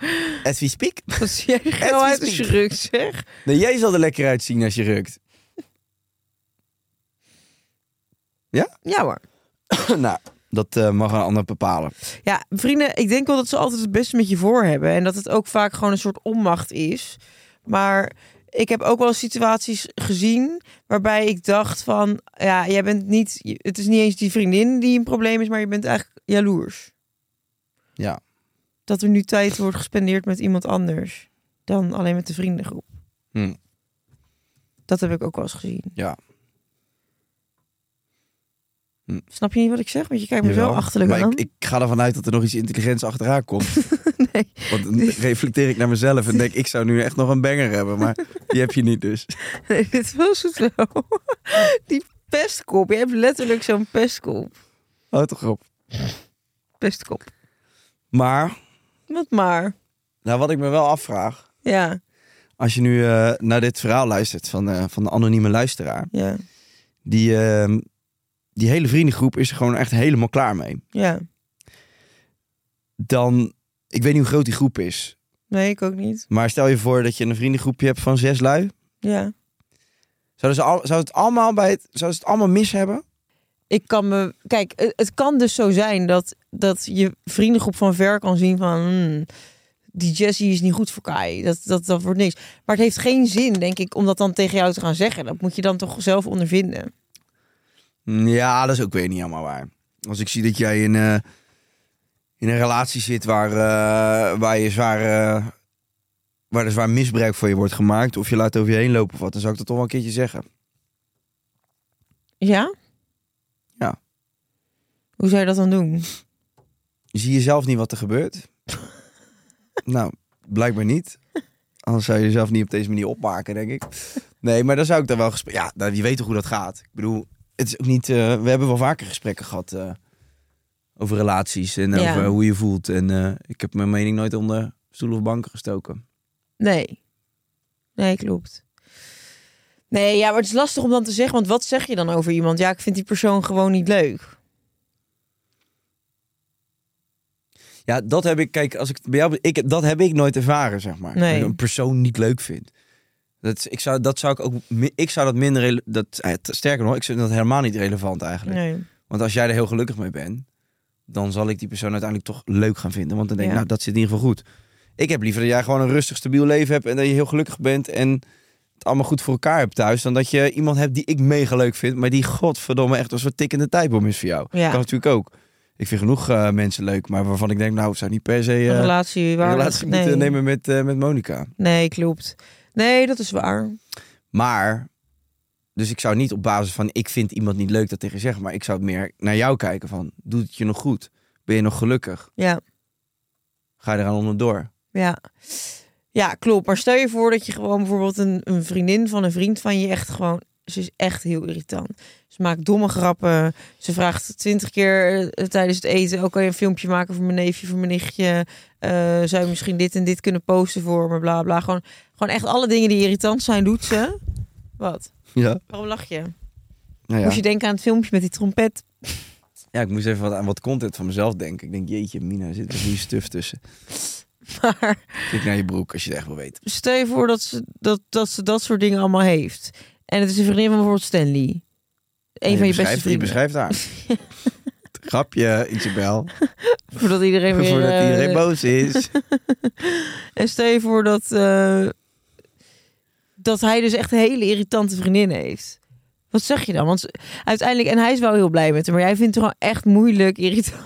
Speaker 1: As we speak.
Speaker 5: wat zie jij er gauw uit als je
Speaker 1: speak.
Speaker 5: rukt, zeg.
Speaker 1: Nee, jij zal er lekker uitzien als je rukt. <laughs>
Speaker 5: Ja hoor.
Speaker 1: nou, dat eh, mag een ander bepalen.
Speaker 5: Ja, vrienden, ik denk wel dat ze altijd het beste met je voor hebben. En dat het ook vaak gewoon een soort onmacht is. Maar ik heb ook wel eens situaties gezien waarbij ik dacht van... Ja, jij bent niet... Het is niet eens die vriendin die een probleem is, maar je bent eigenlijk jaloers.
Speaker 1: Ja.
Speaker 5: dat er nu tijd wordt gespendeerd met iemand anders dan alleen met de vriendengroep.
Speaker 1: Hm.
Speaker 5: Dat heb ik ook wel eens gezien.
Speaker 1: Ja. Hm.
Speaker 5: Snap je niet wat ik zeg? Want je kijkt me zo
Speaker 1: Jawel.
Speaker 5: achterlijk
Speaker 1: maar
Speaker 5: aan.
Speaker 1: ik, ik ga ervan uit dat er nog iets intelligents achteraan komt.
Speaker 5: <laughs> Nee.
Speaker 1: Want dan reflecteer ik naar mezelf en denk, ik zou nu echt nog een banger hebben. Maar die heb je niet dus. <laughs>
Speaker 5: <laughs> Nee, dit was het wel. <laughs> Die pestkop. Je hebt letterlijk zo'n pestkop.
Speaker 1: Houd toch op.
Speaker 5: Pestkop.
Speaker 1: Maar,
Speaker 5: Wat maar.
Speaker 1: nou wat ik me wel afvraag.
Speaker 5: Ja,
Speaker 1: Als je nu eh, naar dit verhaal luistert van, eh, van de anonieme luisteraar.
Speaker 5: ja,
Speaker 1: Die, eh, die hele vriendengroep is er gewoon echt helemaal klaar mee.
Speaker 5: ja.
Speaker 1: Dan, ik weet niet hoe groot die groep is.
Speaker 5: Nee, ik ook niet.
Speaker 1: Maar stel je voor dat je een vriendengroepje hebt van zes lui.
Speaker 5: Ja.
Speaker 1: Zouden ze al, zou het allemaal bij het, zouden ze het allemaal mis hebben?
Speaker 5: Ik kan me... Kijk, het, het kan dus zo zijn dat, dat je vriendengroep van ver kan zien van... hmm, die Jessie is niet goed voor Kai. Dat, dat, dat wordt niks. Maar het heeft geen zin, denk ik, om dat dan tegen jou te gaan zeggen. Dat moet je dan toch zelf ondervinden.
Speaker 1: Hm, Ja, dat is ook weer niet helemaal waar. Als ik zie dat jij in, eh, in een relatie zit waar, eh, waar, je zwaar, eh, waar er zwaar misbruik van je wordt gemaakt... of je laat over je heen lopen of wat, dan zou ik dat toch wel een keertje zeggen.
Speaker 5: Ja?
Speaker 1: Ja.
Speaker 5: Hoe zou je dat dan doen?
Speaker 1: Zie je zelf niet wat er
Speaker 5: <laughs>
Speaker 1: gebeurt? nou, blijkbaar niet. Anders zou je jezelf niet op deze manier opmaken, denk ik. Nee, maar dan zou ik daar wel gesprek... Ja, nou, je weet toch hoe dat gaat? Ik bedoel, het is ook niet... eh, we hebben wel vaker gesprekken gehad eh, over relaties en
Speaker 5: Ja.
Speaker 1: over hoe je voelt. En eh, ik heb mijn mening nooit onder stoel of banken gestoken.
Speaker 5: Nee. Nee, klopt. Nee, ja, maar het is lastig om dan te zeggen, want wat zeg je dan over iemand? Ja, ik vind die persoon gewoon niet leuk.
Speaker 1: Ja, dat heb ik... Kijk, als ik het bij jou... Ik, dat heb ik nooit ervaren, zeg maar.
Speaker 5: Nee.
Speaker 1: Dat ik een persoon niet leuk vind. Dat, is- ik, zou, dat zou ik ook... mi- Ik zou dat minder... rele- Dat, eh, sterker nog, ik vind dat helemaal niet relevant eigenlijk.
Speaker 5: Nee.
Speaker 1: Want als jij er heel gelukkig mee bent, dan zal ik die persoon uiteindelijk toch leuk gaan vinden. Want dan denk ik,
Speaker 5: Ja.
Speaker 1: nou, dat zit in ieder geval goed. Ik heb liever dat jij gewoon een rustig, stabiel leven hebt en dat je heel gelukkig bent en het allemaal goed voor elkaar hebt thuis. Dan dat je iemand hebt die ik mega leuk vind, maar die godverdomme echt een soort tikkende tijdbom is voor jou.
Speaker 5: Ja.
Speaker 1: Kan natuurlijk ook. Ik vind genoeg eh, mensen leuk, maar waarvan ik denk, nou, het zou niet per se eh,
Speaker 5: Een relatie
Speaker 1: een
Speaker 5: waar
Speaker 1: relatie
Speaker 5: nee.
Speaker 1: moeten nemen met, eh, met Monica.
Speaker 5: Nee, klopt. Nee, dat is waar.
Speaker 1: Maar, dus ik zou niet op basis van ik vind iemand niet leuk dat tegen je zeggen, maar ik zou meer naar jou kijken van, doet het je nog goed? Ben je nog gelukkig?
Speaker 5: Ja,
Speaker 1: Ga je eraan onderdoor?
Speaker 5: ja. Ja, klopt. Maar stel je voor dat je gewoon bijvoorbeeld een, een vriendin van een vriend van je echt gewoon... Ze is echt heel irritant. Ze maakt domme grappen. Ze vraagt twintig keer eh, tijdens het eten... ook kan je een filmpje maken voor mijn neefje, voor mijn nichtje? Eh, zou je misschien dit en dit kunnen posten voor me? Bla, bla. Gewoon, gewoon echt alle dingen die irritant zijn, doet ze. Wat?
Speaker 1: Ja.
Speaker 5: Waarom lach je?
Speaker 1: Nou ja.
Speaker 5: Moest je denken aan het filmpje met die trompet? <laughs>
Speaker 1: ja, ik moest even wat, aan wat content van mezelf denken. Ik denk, jeetje, Mina, er zit een goede stuf tussen.
Speaker 5: Maar...
Speaker 1: Kijk naar je broek als je het echt wil weten.
Speaker 5: stel je voor dat ze dat, dat ze dat soort dingen allemaal heeft. En het is een vriendin van bijvoorbeeld Stanley. Een van je
Speaker 1: beschrijft-
Speaker 5: beste
Speaker 1: Je
Speaker 5: vrienden.
Speaker 1: beschrijft haar.
Speaker 5: <laughs>
Speaker 1: Grapje, Isabel.
Speaker 5: Voordat iedereen
Speaker 1: <laughs>
Speaker 5: weer...
Speaker 1: Voordat
Speaker 5: eh,
Speaker 1: iedereen boos is.
Speaker 5: en stel je voor dat, eh, dat hij dus echt een hele irritante vriendin heeft. Wat zeg je dan? Want ze- uiteindelijk... En hij is wel heel blij met haar. Maar jij vindt het gewoon echt moeilijk irritant.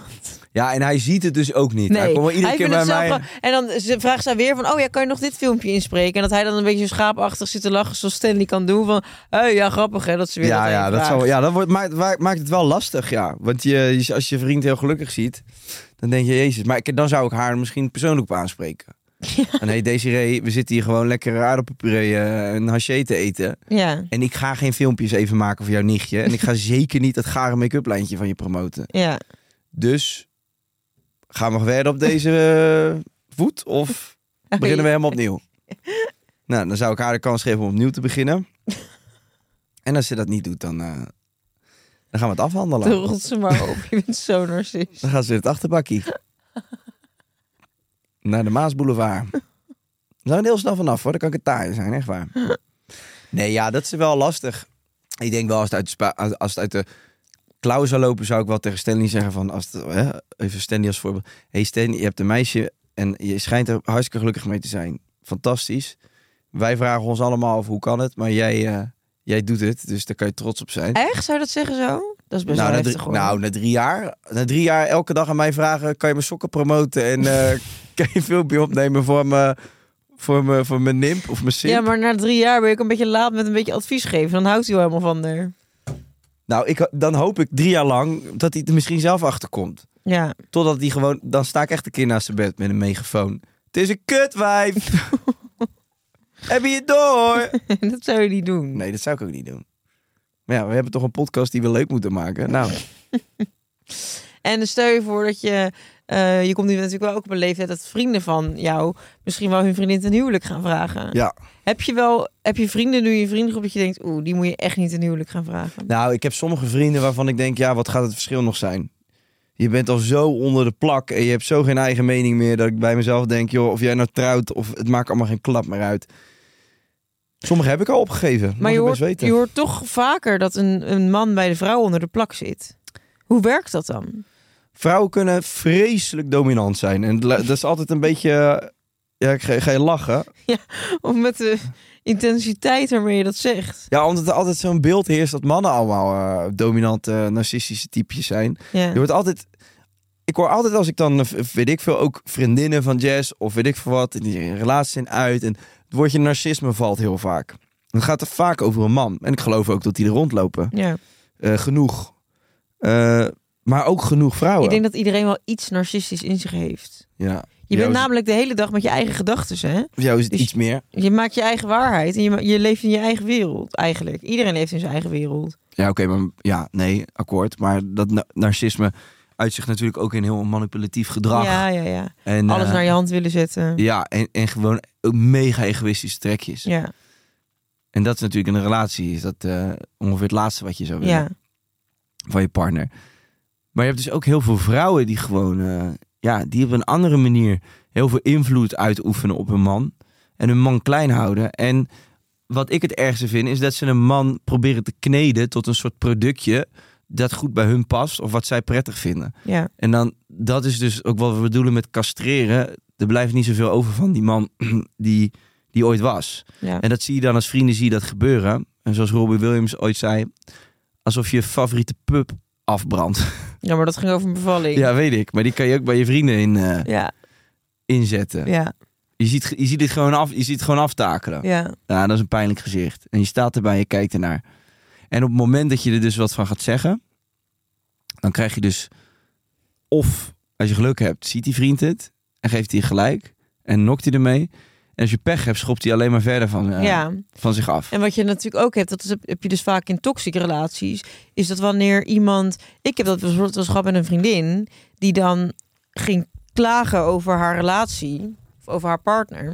Speaker 1: Ja, en hij ziet het dus ook niet. hij
Speaker 5: Nee,
Speaker 1: komt wel iedere
Speaker 5: hij
Speaker 1: keer
Speaker 5: vindt
Speaker 1: bij
Speaker 5: het zelf
Speaker 1: mij.
Speaker 5: gewoon- En dan ze- vraagt zij weer van... Oh ja, kan je nog dit filmpje inspreken? En dat hij dan een beetje schaapachtig zit te lachen... zoals Stanley kan doen. Van, oh ja, grappig hè, dat ze weer
Speaker 1: Ja,
Speaker 5: dat aan
Speaker 1: ja,
Speaker 5: je
Speaker 1: dat
Speaker 5: vraagt.
Speaker 1: zou, ja, dat wordt, maakt, wa- maakt het wel lastig, ja. Want je, je- als je vriend heel gelukkig ziet, dan denk je, jezus. Maar ik, dan zou ik haar misschien persoonlijk op aanspreken. En hey Desiree, we zitten hier gewoon lekker aardappelpuree eh, en haché te eten.
Speaker 5: Ja,
Speaker 1: En ik ga geen filmpjes even maken voor jouw nichtje. En ik ga <laughs> zeker niet dat gare make-up lijntje van je promoten.
Speaker 5: ja.
Speaker 1: Dus gaan we verder op deze eh, voet of beginnen we helemaal opnieuw? Nou, dan zou ik haar de kans geven om opnieuw te beginnen. En als ze dat niet doet, dan, eh, dan gaan we het
Speaker 5: De <laughs>
Speaker 1: afhandelen.
Speaker 5: rotse maar op. Je bent zo narcist.
Speaker 1: Dan gaan ze in het achterbakkie. Naar de Maasboulevard. Daar zijn we er heel snel vanaf hoor, dan kan ik het taai zijn, echt waar. Nee, ja, dat is wel lastig. Ik denk wel, als het uit de, spa- als- als het uit de klauw zou lopen, zou ik wel tegen Stanley zeggen van... Als het, hè, even Stanley als voorbeeld. hey Stanley, je hebt een meisje en je schijnt er hartstikke gelukkig mee te zijn. Fantastisch. Wij vragen ons allemaal af hoe kan het, maar jij eh, Jij doet het, dus daar kan je trots op zijn.
Speaker 5: Echt? Zou je dat zeggen zo? Dat is best
Speaker 1: nou,
Speaker 5: wel
Speaker 1: na
Speaker 5: heftig
Speaker 1: drie,
Speaker 5: hoor.
Speaker 1: nou, na drie jaar. Na drie jaar elke dag aan mij vragen: kan je mijn sokken promoten? En
Speaker 5: <laughs>
Speaker 1: eh, kan je een filmpje opnemen voor mijn, voor mijn, voor mijn nimp of mijn simp?
Speaker 5: ja, maar na drie jaar ben ik een beetje laat met een beetje advies geven. Dan houdt hij wel helemaal van er.
Speaker 1: Nou, ik, dan hoop ik drie jaar lang dat hij er misschien zelf achter komt.
Speaker 5: Ja. <laughs>
Speaker 1: Totdat hij gewoon. Dan sta ik echt een keer naast zijn bed met een megafoon. Het is een kutwijf!
Speaker 5: <laughs>
Speaker 1: Heb je het door?
Speaker 5: dat zou je niet doen.
Speaker 1: Nee, dat zou ik ook niet doen. Maar ja, we hebben toch een podcast die we leuk moeten maken. Nou,
Speaker 5: En stel je voor dat je... eh, je komt nu natuurlijk wel ook op een leeftijd dat vrienden van jou... misschien wel hun vriendin ten huwelijk gaan vragen.
Speaker 1: ja.
Speaker 5: Heb je wel... Heb je vrienden nu in je vriendengroep dat je denkt... Oeh, die moet je echt niet ten huwelijk gaan vragen.
Speaker 1: Nou, ik heb sommige vrienden waarvan ik denk, ja, wat gaat het verschil nog zijn? Je bent al zo onder de plak en je hebt zo geen eigen mening meer dat ik bij mezelf denk, joh, of jij nou trouwt of het maakt allemaal geen klap meer uit. Sommige heb ik al opgegeven. Mag
Speaker 5: maar je
Speaker 1: ik
Speaker 5: hoort,
Speaker 1: best weten.
Speaker 5: je hoort toch vaker dat een, een man bij de vrouw onder de plak zit. Hoe werkt dat dan?
Speaker 1: Vrouwen kunnen vreselijk dominant zijn en la- dat is altijd een beetje, eh, ja, ik ga, ga je lachen.
Speaker 5: Of met de intensiteit waarmee je dat zegt.
Speaker 1: Ja, omdat er altijd zo'n beeld heerst dat mannen allemaal eh, dominante, narcistische typjes zijn.
Speaker 5: Ja.
Speaker 1: Je wordt altijd. Ik hoor altijd als ik dan, eh, v- weet ik veel, ook vriendinnen van jazz of weet ik veel wat, en die relaties zijn uit. En het woordje narcisme valt heel vaak. Dan gaat het vaak over een man. En ik geloof ook dat die er rondlopen.
Speaker 5: ja.
Speaker 1: Eh, genoeg. Eh, maar ook genoeg vrouwen.
Speaker 5: Ik denk dat iedereen wel iets narcistisch in zich heeft.
Speaker 1: ja.
Speaker 5: Je
Speaker 1: Jou
Speaker 5: bent
Speaker 1: is-
Speaker 5: namelijk de hele dag met je eigen gedachten, hè?
Speaker 1: Jou is het
Speaker 5: dus-
Speaker 1: iets meer.
Speaker 5: Je maakt je eigen waarheid en je, ma- je leeft in je eigen wereld eigenlijk. Iedereen leeft in zijn eigen wereld.
Speaker 1: Ja, oké, maar ja, nee, akkoord. Maar dat na- narcisme uit zich natuurlijk ook in heel manipulatief gedrag.
Speaker 5: Ja, ja, ja.
Speaker 1: en,
Speaker 5: Alles
Speaker 1: eh,
Speaker 5: naar je hand willen zetten. Ja.
Speaker 1: Ja, en, en gewoon ook mega egoïstische trekjes.
Speaker 5: Ja.
Speaker 1: En dat is natuurlijk in een relatie, is dat eh, ongeveer het laatste wat je zou willen van je partner. Maar je hebt dus ook heel veel vrouwen die gewoon, eh, ja, die op een andere manier heel veel invloed uitoefenen op hun man. En hun man klein houden. En wat ik het ergste vind, is dat ze een man proberen te kneden tot een soort productje dat goed bij hun past of wat zij prettig vinden.
Speaker 5: ja.
Speaker 1: En dan, dat is dus ook wat we bedoelen met castreren. Er blijft niet zoveel over van die man <clears throat> die, die ooit was.
Speaker 5: Ja.
Speaker 1: En dat zie je dan als vrienden zie je dat gebeuren. En zoals Robbie Williams ooit zei, alsof je favoriete pub afbrandt.
Speaker 5: Ja, maar dat ging over een bevalling.
Speaker 1: ja, weet ik. Maar die kan je ook bij je vrienden in, eh,
Speaker 5: Ja,
Speaker 1: inzetten.
Speaker 5: ja,
Speaker 1: Je, ziet, ge- je, ziet dit gewoon af, je ziet het gewoon aftakelen. Ja.
Speaker 5: ja.
Speaker 1: dat is een pijnlijk gezicht. En je staat erbij en je kijkt ernaar. En op het moment dat je er dus wat van gaat zeggen, dan krijg je dus... Of, als je geluk hebt, ziet die vriend het en geeft hij gelijk en nokt hij ermee. En als je pech hebt, schopt hij alleen maar verder van, eh,
Speaker 5: ja.
Speaker 1: van zich af.
Speaker 5: En wat je natuurlijk ook hebt, dat is, heb je dus vaak in toxische relaties, is dat wanneer iemand. Ik heb dat bijvoorbeeld als gehad met een vriendin, die dan ging klagen over haar relatie of over haar partner.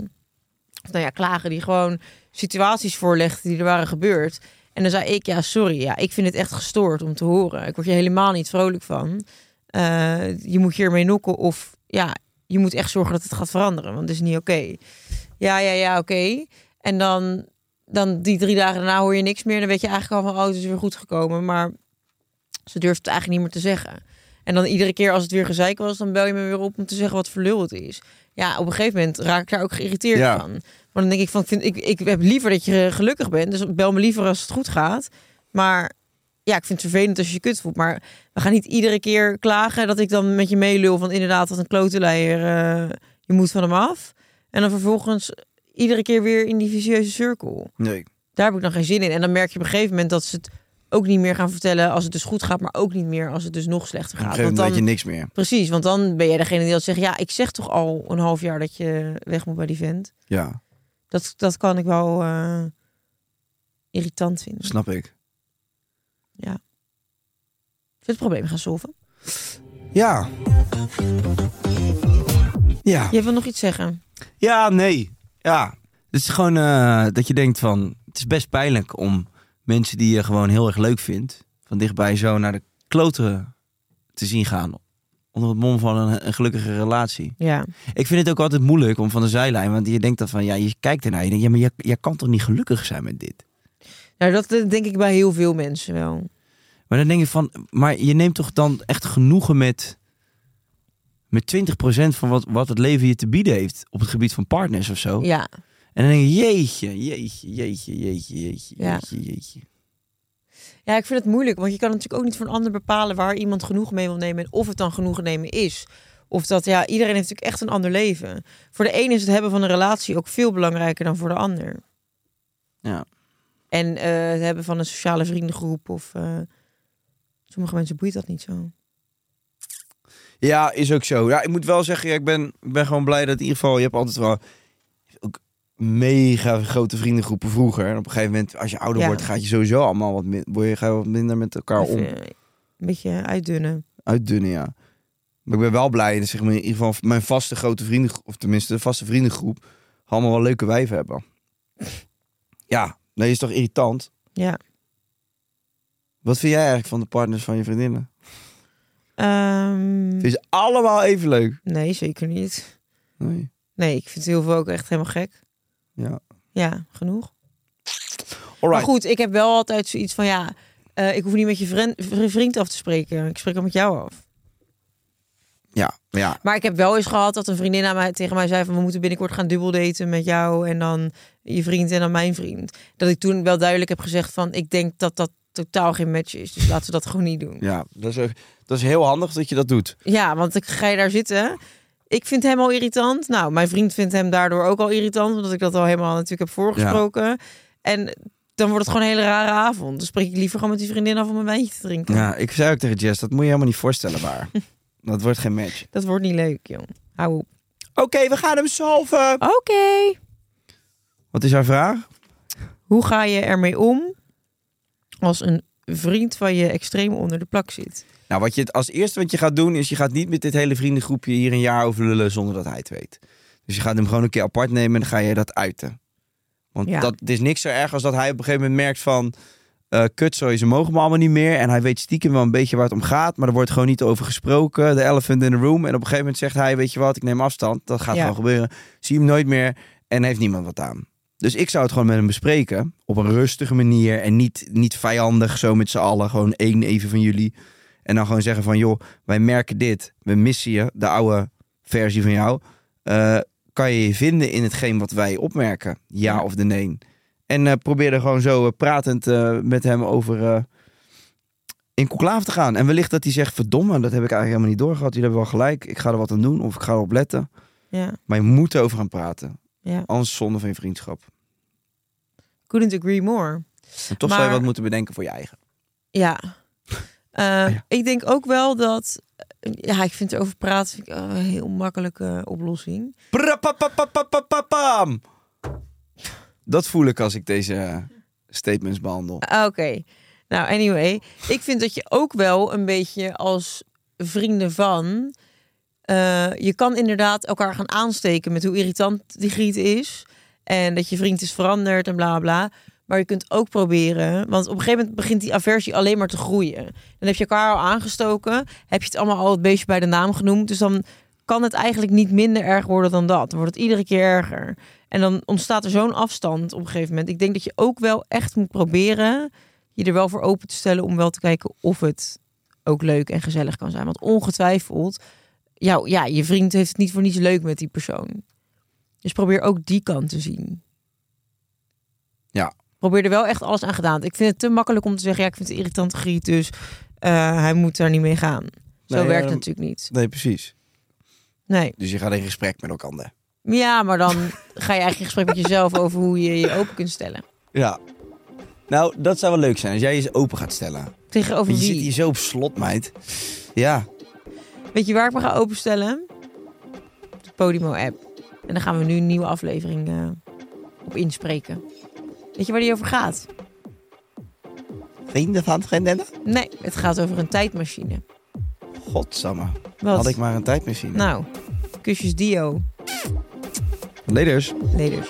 Speaker 5: Of nou ja, klagen die gewoon situaties voorlegde die er waren gebeurd. En dan zei ik, ja, sorry, ja, ik vind het echt gestoord om te horen. Ik word hier helemaal niet vrolijk van. Eh, je moet hiermee nokken of ja, je moet echt zorgen dat het gaat veranderen, want het is niet oké. Ja, ja, ja, oké. En dan dan die drie dagen daarna hoor je niks meer. Dan weet je eigenlijk al van, oh, het is weer goed gekomen. Maar ze durft het eigenlijk niet meer te zeggen. En dan iedere keer als het weer gezeik was, dan bel je me weer op om te zeggen wat voor lul het is. Ja, op een gegeven moment raak ik daar ook geïrriteerd
Speaker 1: Ja.
Speaker 5: van. Maar dan denk ik van, ik, vind, ik, ik heb liever dat je gelukkig bent. Dus bel me liever als het goed gaat. Maar ja, ik vind het vervelend als je je kut voelt. Maar we gaan niet iedere keer klagen dat ik dan met je meelul van inderdaad dat een klotenleier, eh, je moet van hem af. En dan vervolgens iedere keer weer in die vicieuze cirkel
Speaker 1: Nee.
Speaker 5: daar heb ik dan geen zin in. En dan merk je op een gegeven moment dat ze het ook niet meer gaan vertellen als het dus goed gaat, maar ook niet meer als het dus nog slechter
Speaker 1: Op een
Speaker 5: gaat.
Speaker 1: gegeven
Speaker 5: Want
Speaker 1: moment
Speaker 5: dan,
Speaker 1: weet je niks meer.
Speaker 5: Precies, want dan ben jij degene die dat zegt. Ja, ik zeg toch al een half jaar dat je weg moet bij die vent.
Speaker 1: Ja,
Speaker 5: Dat, dat kan ik wel eh, irritant vinden. Ik
Speaker 1: snap ik.
Speaker 5: wil het probleem gaan solven.
Speaker 1: Ja. Ja.
Speaker 5: Je wil nog iets zeggen?
Speaker 1: Ja, nee. Ja. Het is gewoon eh, dat je denkt van... Het is best pijnlijk om mensen die je gewoon heel erg leuk vindt... van dichtbij zo naar de kloten te zien gaan. Onder het mom van een, een gelukkige relatie.
Speaker 5: Ja.
Speaker 1: Ik vind het ook altijd moeilijk om van de zijlijn... want je denkt dan van... Ja, je kijkt ernaar. Je denkt, ja, maar jij, jij kan toch niet gelukkig zijn met dit?
Speaker 5: Nou, dat eh, denk ik bij heel veel mensen wel.
Speaker 1: Maar dan denk je van, maar je neemt toch dan echt genoegen met, met 20% van wat, wat het leven je te bieden heeft op het gebied van partners of zo.
Speaker 5: Ja.
Speaker 1: En dan denk je, jeetje, jeetje, jeetje, jeetje, jeetje,
Speaker 5: Ja.
Speaker 1: jeetje, jeetje.
Speaker 5: Ja, ik vind het moeilijk, want je kan natuurlijk ook niet voor een ander bepalen waar iemand genoeg mee wil nemen en of het dan genoeg nemen is. Of dat, ja, iedereen heeft natuurlijk echt een ander leven. Voor de een is het hebben van een relatie ook veel belangrijker dan voor de ander.
Speaker 1: Ja.
Speaker 5: En eh, het hebben van een sociale vriendengroep of... eh, sommige mensen boeit dat niet zo.
Speaker 1: Ja, is ook zo. Ja, ik moet wel zeggen, ja, ik ben, ik ben gewoon blij dat in ieder geval... Je hebt altijd wel ook mega grote vriendengroepen vroeger. En op een gegeven moment, als je ouder
Speaker 5: Ja.
Speaker 1: wordt, gaat je sowieso allemaal wat, min, word je, ga je wat minder met elkaar
Speaker 5: Even,
Speaker 1: om.
Speaker 5: eh, Een beetje uitdunnen.
Speaker 1: Uitdunnen, ja. Maar ik ben wel blij, zeg maar, in ieder geval mijn vaste grote vriendengroep... Of tenminste, de vaste vriendengroep, allemaal wel leuke wijven hebben. Ja, nee, is toch irritant?
Speaker 5: Ja.
Speaker 1: Wat vind jij eigenlijk van de partners van je vriendinnen?
Speaker 5: Ehm,
Speaker 1: Vind je ze allemaal even leuk?
Speaker 5: nee, zeker niet.
Speaker 1: Nee.
Speaker 5: Nee, ik vind heel veel ook echt helemaal gek.
Speaker 1: Ja.
Speaker 5: Ja, genoeg.
Speaker 1: Alright.
Speaker 5: Maar goed, ik heb wel altijd zoiets van ja, eh, ik hoef niet met je vren- vri- vriend af te spreken. Ik spreek al met jou af.
Speaker 1: Ja, ja.
Speaker 5: Maar ik heb wel eens gehad dat een vriendin aan mij, tegen mij zei van we moeten binnenkort gaan dubbeldaten met jou en dan je vriend en dan mijn vriend. Dat ik toen wel duidelijk heb gezegd van ik denk dat dat totaal geen match is. Dus laten we dat gewoon niet doen.
Speaker 1: Ja, dat is, ook- dat is heel handig dat je dat doet.
Speaker 5: Ja, want ik ga je daar zitten. Ik vind hem al irritant. Nou, mijn vriend vindt hem daardoor ook al irritant, omdat ik dat al helemaal natuurlijk heb voorgesproken. En dan wordt het gewoon een hele rare avond. Dan spreek ik liever gewoon met die vriendin af om een wijntje te drinken.
Speaker 1: Ja, ik zei ook tegen Jess, dat moet je helemaal niet voorstellen
Speaker 5: <laughs>
Speaker 1: waar. dat wordt geen match.
Speaker 5: Dat wordt niet leuk, jong. Hou op.
Speaker 1: Oké, we gaan hem solven.
Speaker 5: Oké.
Speaker 1: Wat is haar vraag?
Speaker 5: Hoe ga je ermee om als een vriend van je extreem onder de plak zit?
Speaker 1: Nou, wat je het- als eerste wat je gaat doen, is je gaat niet met dit hele vriendengroepje hier een jaar over lullen zonder dat hij het weet. Dus je gaat hem gewoon een keer apart nemen en dan ga je dat uiten. Want
Speaker 5: Ja.
Speaker 1: dat het is niks zo erg als dat hij op een gegeven moment merkt van... eh kut, sorry, ze mogen me allemaal niet meer. En hij weet stiekem wel een beetje waar het om gaat. Maar er wordt gewoon niet over gesproken. De elephant in the room. En op een gegeven moment zegt hij, weet je wat, ik neem afstand. Dat gaat
Speaker 5: Ja.
Speaker 1: gewoon gebeuren. Zie hem nooit meer en heeft niemand wat aan. Dus ik zou het gewoon met hem bespreken. Op een rustige manier. En niet, niet vijandig zo met z'n allen. Gewoon één even van jullie. En dan gewoon zeggen van, joh, wij merken dit. We missen je, de oude versie van jou. Eh, kan je je vinden in hetgeen wat wij opmerken? Ja of de nee? En eh probeer er gewoon zo eh, pratend eh, met hem over eh, in conclave te gaan. En wellicht dat hij zegt, verdomme, dat heb ik eigenlijk helemaal niet doorgehad. Jullie hebben wel gelijk, ik ga er wat aan doen of ik ga erop letten.
Speaker 5: Ja,
Speaker 1: Maar je moet erover gaan praten.
Speaker 5: ja.
Speaker 1: Anders zonde van je vriendschap.
Speaker 5: Couldn't agree more.
Speaker 1: En toch zou je
Speaker 5: Maar-
Speaker 1: wat moeten bedenken voor je eigen.
Speaker 5: <laughs> Ja. Eh, Ik denk ook wel dat... eh, Ja, ik vind erover praten vind ik, eh, een heel makkelijke oplossing.
Speaker 1: Prapapapapapapam. Dat voel ik als ik deze eh, statements behandel.
Speaker 5: Ah, Oké. Nou, anyway. Ik vind dat je ook wel een beetje als vrienden van... eh, je kan inderdaad elkaar gaan aansteken met hoe irritant die griet is. En dat je vriend is veranderd en bla bla. Maar je kunt ook proberen, want op een gegeven moment begint die aversie alleen maar te groeien. Dan heb je elkaar al aangestoken, heb je het allemaal al het beestje bij de naam genoemd. Dus dan kan het eigenlijk niet minder erg worden dan dat. Dan wordt het iedere keer erger. En dan ontstaat er zo'n afstand op een gegeven moment. Ik denk dat je ook wel echt moet proberen je er wel voor open te stellen om wel te kijken of het ook leuk en gezellig kan zijn. Want ongetwijfeld, jou, ja, je vriend heeft het niet voor niets leuk met die persoon. Dus probeer ook die kant te zien.
Speaker 1: Ja.
Speaker 5: Probeer er wel echt alles aan gedaan. te- Ik vind het te makkelijk om te zeggen, ja, ik vind het een irritante griet, dus eh, hij moet daar niet mee gaan. Zo
Speaker 1: Nee, ja,
Speaker 5: werkt het
Speaker 1: dan-
Speaker 5: natuurlijk niet.
Speaker 1: Nee, precies.
Speaker 5: Nee.
Speaker 1: Dus je gaat in gesprek met elkaar.
Speaker 5: Ja, maar dan <laughs> ga je eigenlijk in gesprek met jezelf over hoe je je open kunt stellen.
Speaker 1: Ja. Nou, dat zou wel leuk zijn als jij je open gaat stellen.
Speaker 5: Tegenover
Speaker 1: Want je
Speaker 5: wie?
Speaker 1: zit hier zo op slot, meid. Ja.
Speaker 5: Weet je waar ik me ga openstellen? De Podimo-app. En dan gaan we nu een nieuwe aflevering eh, op inspreken. Weet je waar die over gaat?
Speaker 1: Vrienden van vriendinnen?
Speaker 5: Nee, het gaat over een tijdmachine.
Speaker 1: Godsamme.
Speaker 5: Wat?
Speaker 1: Had ik maar een tijdmachine.
Speaker 5: Nou, kusjes Dio.
Speaker 1: Leders.
Speaker 5: Leders.